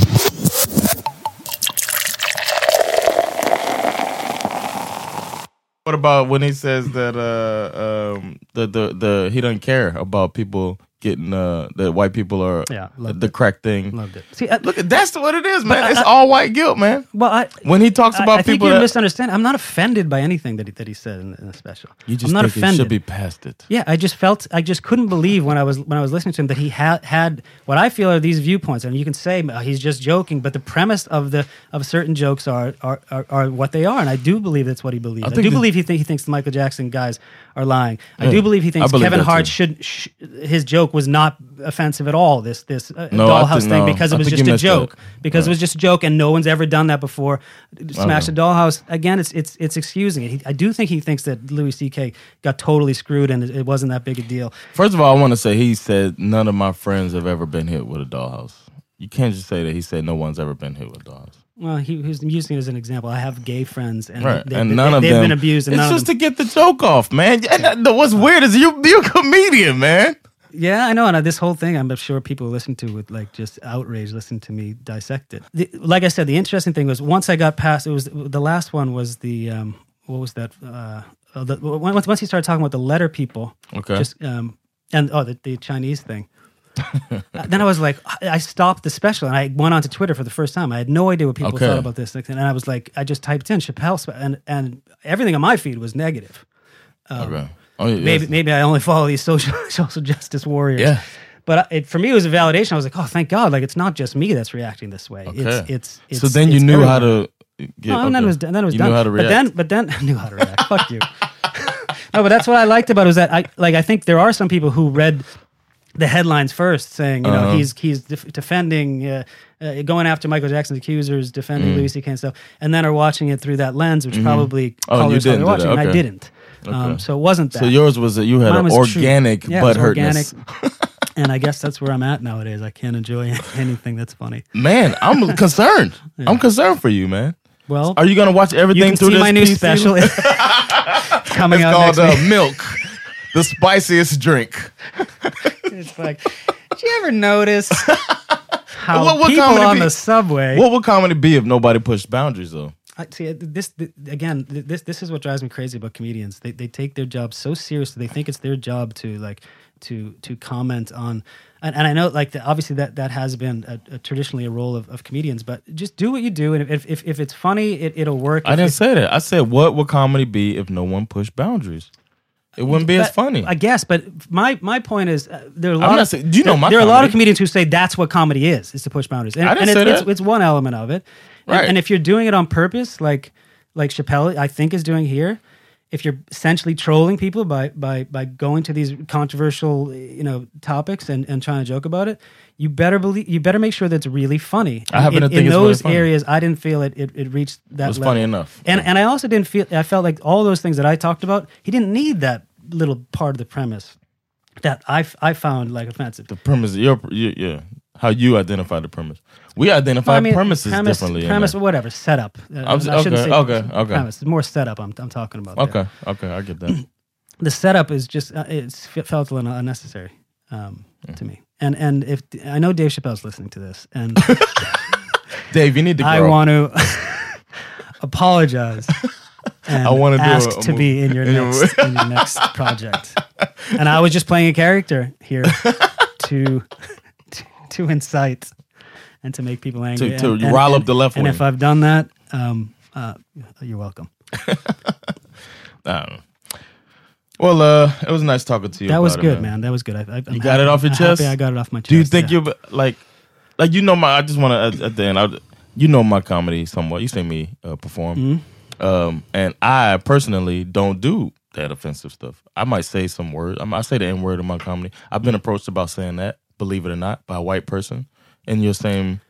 What about when he says that uh um the the, the he doesn't care about people getting uh that white people are Yeah, loved the crack thing. Loved it. look at that's what it is, But man. I- it's I- all white guilt, man. Well, I, When he talks I- about I think people you that- misunderstand. I'm not offended by anything that he, that he said in, in the special. you just I'm not think it offended. should be past it. Yeah, I just felt I just couldn't believe when I was when I was listening to him that he had had what I feel are these viewpoints, and you can say "Oh, he's just joking, but the premise of the of certain jokes are are, are, are what they are, and I do believe that's what he believes. I, think do that- believe he think he thinks the Michael Jackson guys are lying. I Yeah, do believe he I thinks believe Kevin that Hart too. should sh- his joke was not offensive at all. This this uh, No, I dollhouse think- thing no, because I it was think you just a missed that. joke because it was just a joke and no one's ever done that before. Smash Okay. the dollhouse again. It's it's it's excusing it. He, I do think he thinks that Louis C.K. got totally screwed and it, it wasn't that big a deal. First of all, I want to say he said none of my friends have ever been hit with a dollhouse. You can't just say that he said no one's ever been hit with a dollhouse. Well, he, he was using it as an example. I have gay friends and right. they, and they- none of they've them been abused. And it's none just of them. Uh-huh. to get the joke off, man. And uh, what's weird is you you're a comedian, man. yeah, I know. And I, this whole thing, I'm sure people listen to with like just outrage. Listen to me dissect it. The, like I said, the interesting thing was once I got past it was the last one was the um, what was that? Uh, uh, the, once once he started talking about the letter people, Okay. just um, and oh the, the Chinese thing. Uh, then I was like, I I stopped the special and I went onto Twitter for the first time. I had no idea what people Okay. thought about this, thing. and I was like, I just typed in Chappelle, spe- and and everything on my feed was negative. Um, Okay. Oh, yeah, maybe yes. maybe I only follow these social social justice warriors. Yeah. But I- it, for me, it was a validation. I was like, "Oh, thank God! Like, it's not just me that's reacting this way. Okay. It's, it's, it's so then you it's knew how everyone." to. Get, no, and okay. then it was done. Then it was you done. Knew how to react. But then, but then I knew how to react. Fuck you. No, but that's what I liked about it was that I like I think there are some people who read the headlines first, saying you know Uh-huh. he's he's def- defending, uh, uh, going after Michael Jackson's accusers, defending Mm. Louis C.K. and stuff, and then are watching it through that lens, which Mhm. probably Oh, you colors how didn't they're do watching. that. And I Okay. didn't. Um, Okay. so it wasn't that. So yours was that you had Mine an was true. organic Yeah, it was butt hurtness. organic. and I guess that's where I'm at nowadays. I can't enjoy anything that's funny. Man, I'm concerned. I'm concerned for you, man. Well, Are you gonna watch everything can through see this my new PC? special. coming it's out called next uh, week. milk, the spiciest drink. um, it's like, did you ever notice how What- what people comedy on be- the subway? What would comedy be if nobody pushed boundaries though? I, see, uh, this, th again, th- this this is what drives me crazy about comedians. They they take their job so seriously. They think it's their job to like to to comment on. And, and I know, like, the, obviously that that has been a, a, traditionally a role of, of comedians. But just do what you do, and if if, if it's funny, it, it'll work. I If didn't it- say that. I said what would comedy be if no one pushed boundaries? It wouldn't be as But- funny. I guess, but my my point is uh, there are a I'm lot. not of, saying- do you know there, my there are a lot of comedy? comedians who say that's what comedy is is to push boundaries, and, I didn't and say it's, it's that. it's one element of it. And, Right. and if you're doing it on purpose, like like Chappelle, I think is doing here, if you're essentially trolling people by by by going to these controversial you know topics and, and trying to joke about it, you better believe you better make sure that's really funny. I happen to in, think in it's really those funny. areas, I didn't feel it. It, it reached that. It was level. funny enough. And and I also didn't feel. I felt like all those things that I talked about. He didn't need that little part of the premise that I, f- I found like offensive. The premise, your, your, yeah, how you identify the premise. We identify I mean, premises premise, differently. in Premise, there. whatever, setup. Uh, I'm s- I shouldn't okay, say okay, premise, okay. Premise. It's more setup. I'm I'm talking about. there. Okay, okay, I get that. the setup is just uh, it's it felt a little unnecessary um, to me. And and if I know Dave Chappelle's listening to this, and Dave, you need to. Grow. I want to apologize. And I wanna do a- ask a to be movie. in your In your next in your next project. And I was just playing a character here to to, to incite and to make people angry. To- to and, and- rile up and- the left And wing. if I've done that, um, uh, you're welcome. I don't know. Well, uh, it was nice talking to you. That was about it, good, man. That was good. I, I, I'm You got happy- it off your I'm chest. happy I got it off my chest. Do you think yeah. you like, like you know my? I just want to at, at the end. I, you know my comedy somewhat. You see me uh, perform, Mm-hmm. um, and I personally don't do that offensive stuff. I might say some words. I, might- I say the n word in my comedy. I've been approached about saying that, believe it or not, by a white person in your same.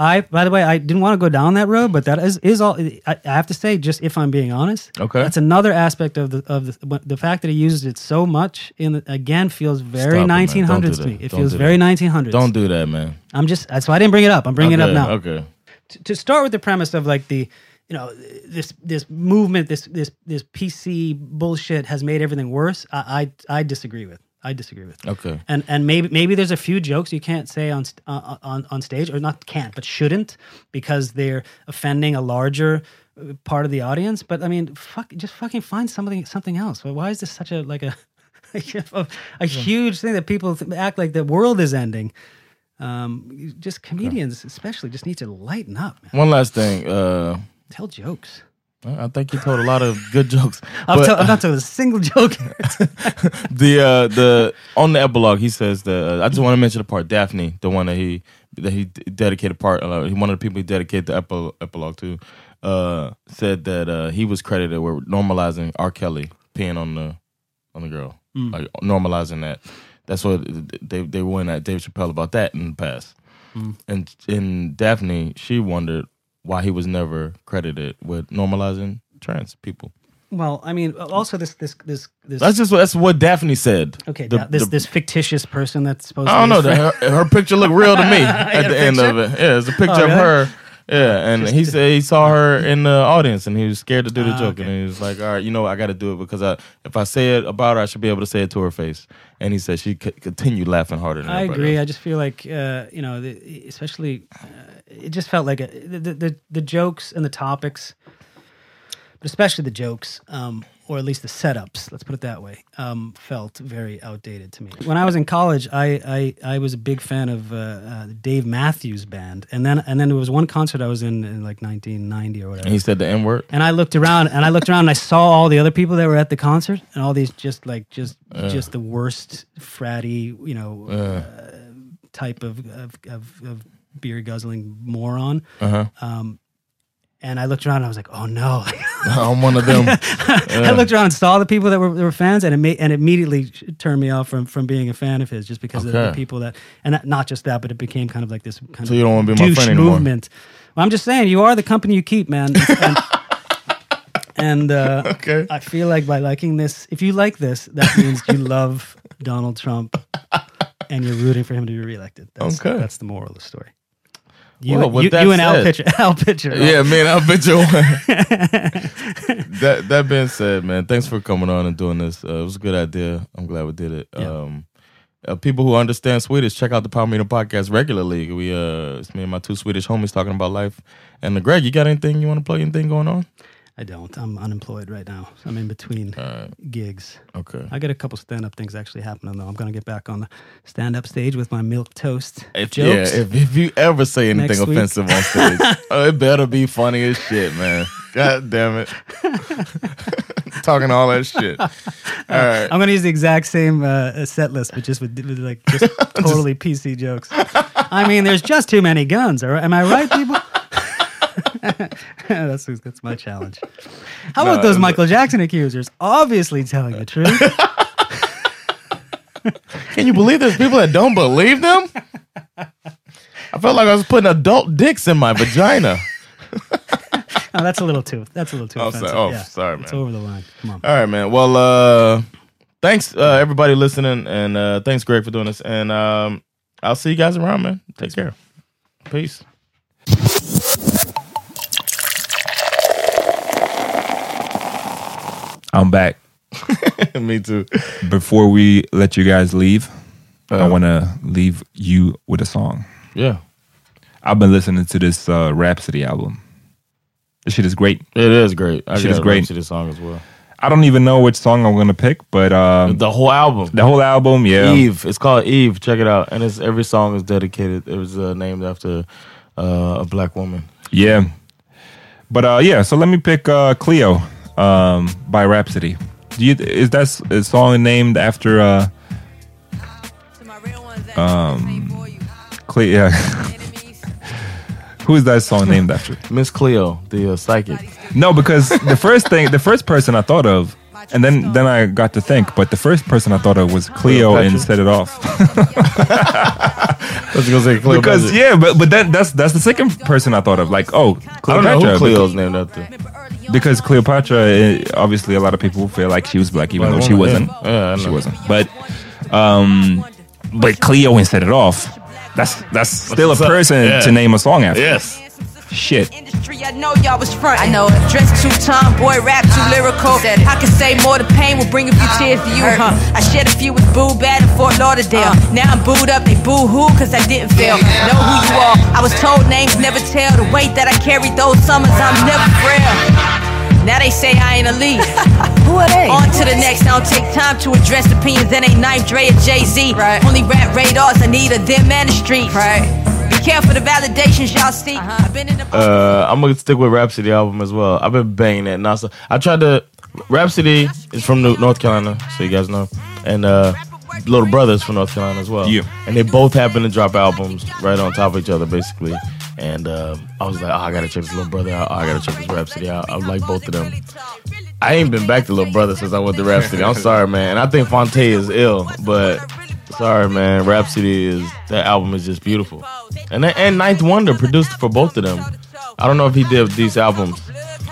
I, by the way, I didn't want to go down that road, but that is is all. I, I have to say, just if I'm being honest, Okay. that's another aspect of the of the the fact that he uses it so much. In the, again, feels very Stop it, man. Don't do 1900s to that. me. It Don't feels do very that. 1900s. Don't do that, man. I'm just that's why I didn't bring it up. I'm bringing okay, it up now. Okay. T- to start with the premise of like the you know this this movement this this this PC bullshit has made everything worse. I I, I disagree with. I disagree with. Okay. and and maybe maybe there's a few jokes you can't say on st- uh, on on stage or not can't but shouldn't because they're offending a larger uh, part of the audience but i mean fuck just fucking find something something else Why- why is this such a like a a, a huge thing that people th- act like the world is ending um you- just comedians especially just need to lighten up man. One last thing. Uh, tell jokes I I think you told a lot of good jokes. I'm, but- tell- I'm not telling a single joke the uh the on the epilogue he says that uh, I just want to mention the part Daphne, the one that he that he d- dedicated part uh, he one of the people he dedicated the epi- epilogue to, uh said that uh he was credited with normalizing R. Kelly peeing on the on the girl, like normalizing that. That's what they they went at Dave Chappelle about that in the past, and and Daphne she wondered why he was never credited with normalizing trans people. well i mean also this this this this That's just what, that's what Daphne said. Okay, The- da- this the- this fictitious person that's supposed. I don't to know. be his Her, friend. her picture looked real to me at a the end of it. picture? Yeah, it's a picture Oh, of really? Oh, her. Yeah, and he said he saw her in the audience, and he was scared to do Ah, the joke, and he was like, "All right, you know, what? I got to do it because I, if I say it about her, I should be able to say it to her face." And he said she c- continued laughing harder. Than I everybody agree. else. I just feel like uh, you know, the, especially uh, it just felt like a, the, the the jokes and the topics, but especially the jokes, um, or at least the setups. Let's put it that way. Um, felt very outdated to me. When I was in college, I I, I was a big fan of uh, uh, Dave Matthews Band, and then and then there was one concert I was in in like 1990 or whatever. And he said the N word. And I looked around and I looked around and I saw all the other people that were at the concert and all these just like just just the worst fratty, you know, uh, type of of, of, of beer guzzling moron. Um, and I looked around and I was like, oh no. I'm one of them. I looked around and saw the people that were, that were fans, and it ma- and it immediately sh- turned me off from, from being a fan of his, just because of the Okay. people that, and that, not just that, but it became kind of like this kind So of you don't wanna be my douche friend anymore. movement. Well, I'm just saying, you are the company you keep, man. And, and, uh, Okay. I feel like by liking this, if you like this, that means you love Donald Trump, and you're rooting for him to be reelected. That's, Okay. that's the moral of the story. You, Well, with you, that you and Al said- Pitcher, Al Pitcher, right? yeah, man. I bet you. that that being said, man, thanks for coming on and doing this. Uh, it was a good idea. I'm glad we did it. Yeah. Um, uh, people who understand Swedish, check out the Power Meter podcast regularly. We uh, it's me and my two Swedish homies talking about life. And uh, Greg, you got anything you want to plug? Anything going on? I don't. I'm unemployed right now. I'm in between gigs. Okay. I got a couple stand up things actually happening though. I'm gonna get back on the stand up stage with my milk toast If, jokes. Yeah, if, if you ever say anything Next week. offensive on stage, oh, it better be funny as shit, man. God damn it. Talking all that shit. All right. I'm gonna use the exact same uh, set list, but just with, with like just totally PC jokes. I mean, there's just too many guns. All right, am I right, people? that's that's my challenge. How about those Michael Jackson accusers? Obviously telling the truth. Can you believe there's people that don't believe them? I felt like I was putting adult dicks in my vagina. Oh, that's a little too. That's a little too Oh, sorry. offensive. Oh, yeah. sorry, It's man. over the line. Come on. All right, man. Well, uh, thanks uh, everybody listening, and uh, thanks Greg for doing this. And um, I'll see you guys around, man. Take care. Peace. I'm back. Me too. Uh, Before we let you guys leave, I want to leave you with a song. Yeah, I've been listening to this uh, Rhapsody album. This shit is great. it is great. I Shit is gotta great. rap To this song as well. I don't even know which song I'm gonna pick, but uh, The whole album. the whole album, yeah. Eve. It's called Eve. Check it out. And it's every song is dedicated. It was uh, named after uh, a black woman. Yeah. But uh yeah, so let me pick uh Cleo um by Rhapsody. Do you is that s- a song named after uh um Cleo yeah. Who is that song named after? Miss Cleo, the uh, psychic. No, because the first thing the first person I thought of and then then I got to think, but the first person I thought of was Cleo and Patrick? set it off. I was gonna say Cleo because Benedict. yeah, but but that that's that's the second person I thought of. Like, oh, I don't Cleopatra. know who Cleo's named after. because Cleopatra, eh, obviously, a lot of people feel like she was black, even though she wasn't. Yeah, yeah, I she know. wasn't. But, um, but Cleo and set it off. That's that's still a what's up. person Yeah. to name a song after. Yes. Shit. Industry, I know y'all was front. I know it. Dressed too tomboy, rap too lyrical. I can say more, the pain will bring a few tears to you. Huh? I shared a few with Boo Bad in Fort Lauderdale. Now I'm booed up, they boo hoo, cause I didn't fail. Know who you are. I was told names never tell. The weight that I carried those summers, I'm never frail. Now they say I ain't a lead. Who are they? On to the next. I don't take time to address opinions that ain't knife Dre or Jay Z. Right. Only rap radars. I need a them and the streets. Right. Be careful the validations y'all see. I've been in the Uh, I'm gonna stick with Rhapsody album as well. I've been banging that NASA. I tried to. Rhapsody is from New- North Carolina, so you guys know, and uh, Little Brothers from North Carolina as well. Yeah. and they both happen to drop albums right on top of each other, basically. And uh, I was like, oh, I gotta check this Little Brother out. Oh, I gotta check this Rhapsody out. I like both of them. I ain't been back to Little Brother since I went to Rhapsody. I'm sorry, man. And I think Fonte is ill, but sorry, man. Rhapsody is that album is just beautiful. And that, and Ninth Wonder produced for both of them. I don't know if he did these albums.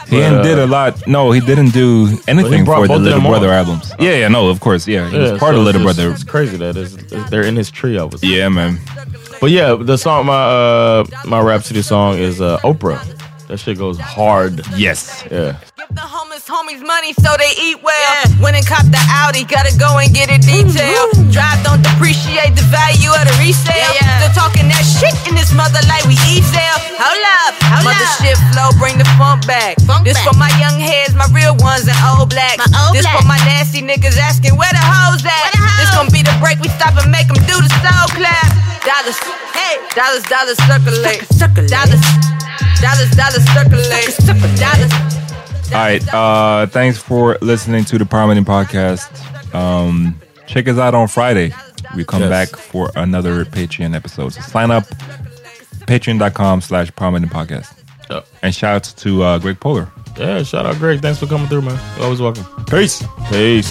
He But, uh, didn't did a lot. No, he didn't do anything for brought the both of Little them on. Brother albums. Yeah, yeah, no, of course, yeah. He was part so of Little it's just- Brother. It's crazy that is they're in his tree. I was. Yeah, man. But yeah, the song my uh my Rhapsody song is uh Oprah. That shit goes hard. Yes. Yeah. Give the homeless homies money so they eat well. When it cop the Audi, gotta go and get it detailed. Drive don't depreciate the value of the resale. Still talking that shit in this mother like we easy. Hold up, mother shit flow, bring the funk back. this for my young heads, my real ones, and old blacks. this for my nasty niggas asking where the hoes at. This gonna be the break we stop and make 'em do the soul clap. Dollars, hey, dollars, dollars circulate. Dollars, dollars, dollars circulate. Dollars. All right. Uh, thanks for listening to the Prominent Podcast. Um, check us out on Friday. We come Yes. back for another Patreon episode. So sign up, patreon.com slash Prominent Podcast. Yeah. And shouts to uh, Greg Polar. Yeah, shout out Greg. Thanks for coming through, man. You're always welcome. Peace. Peace.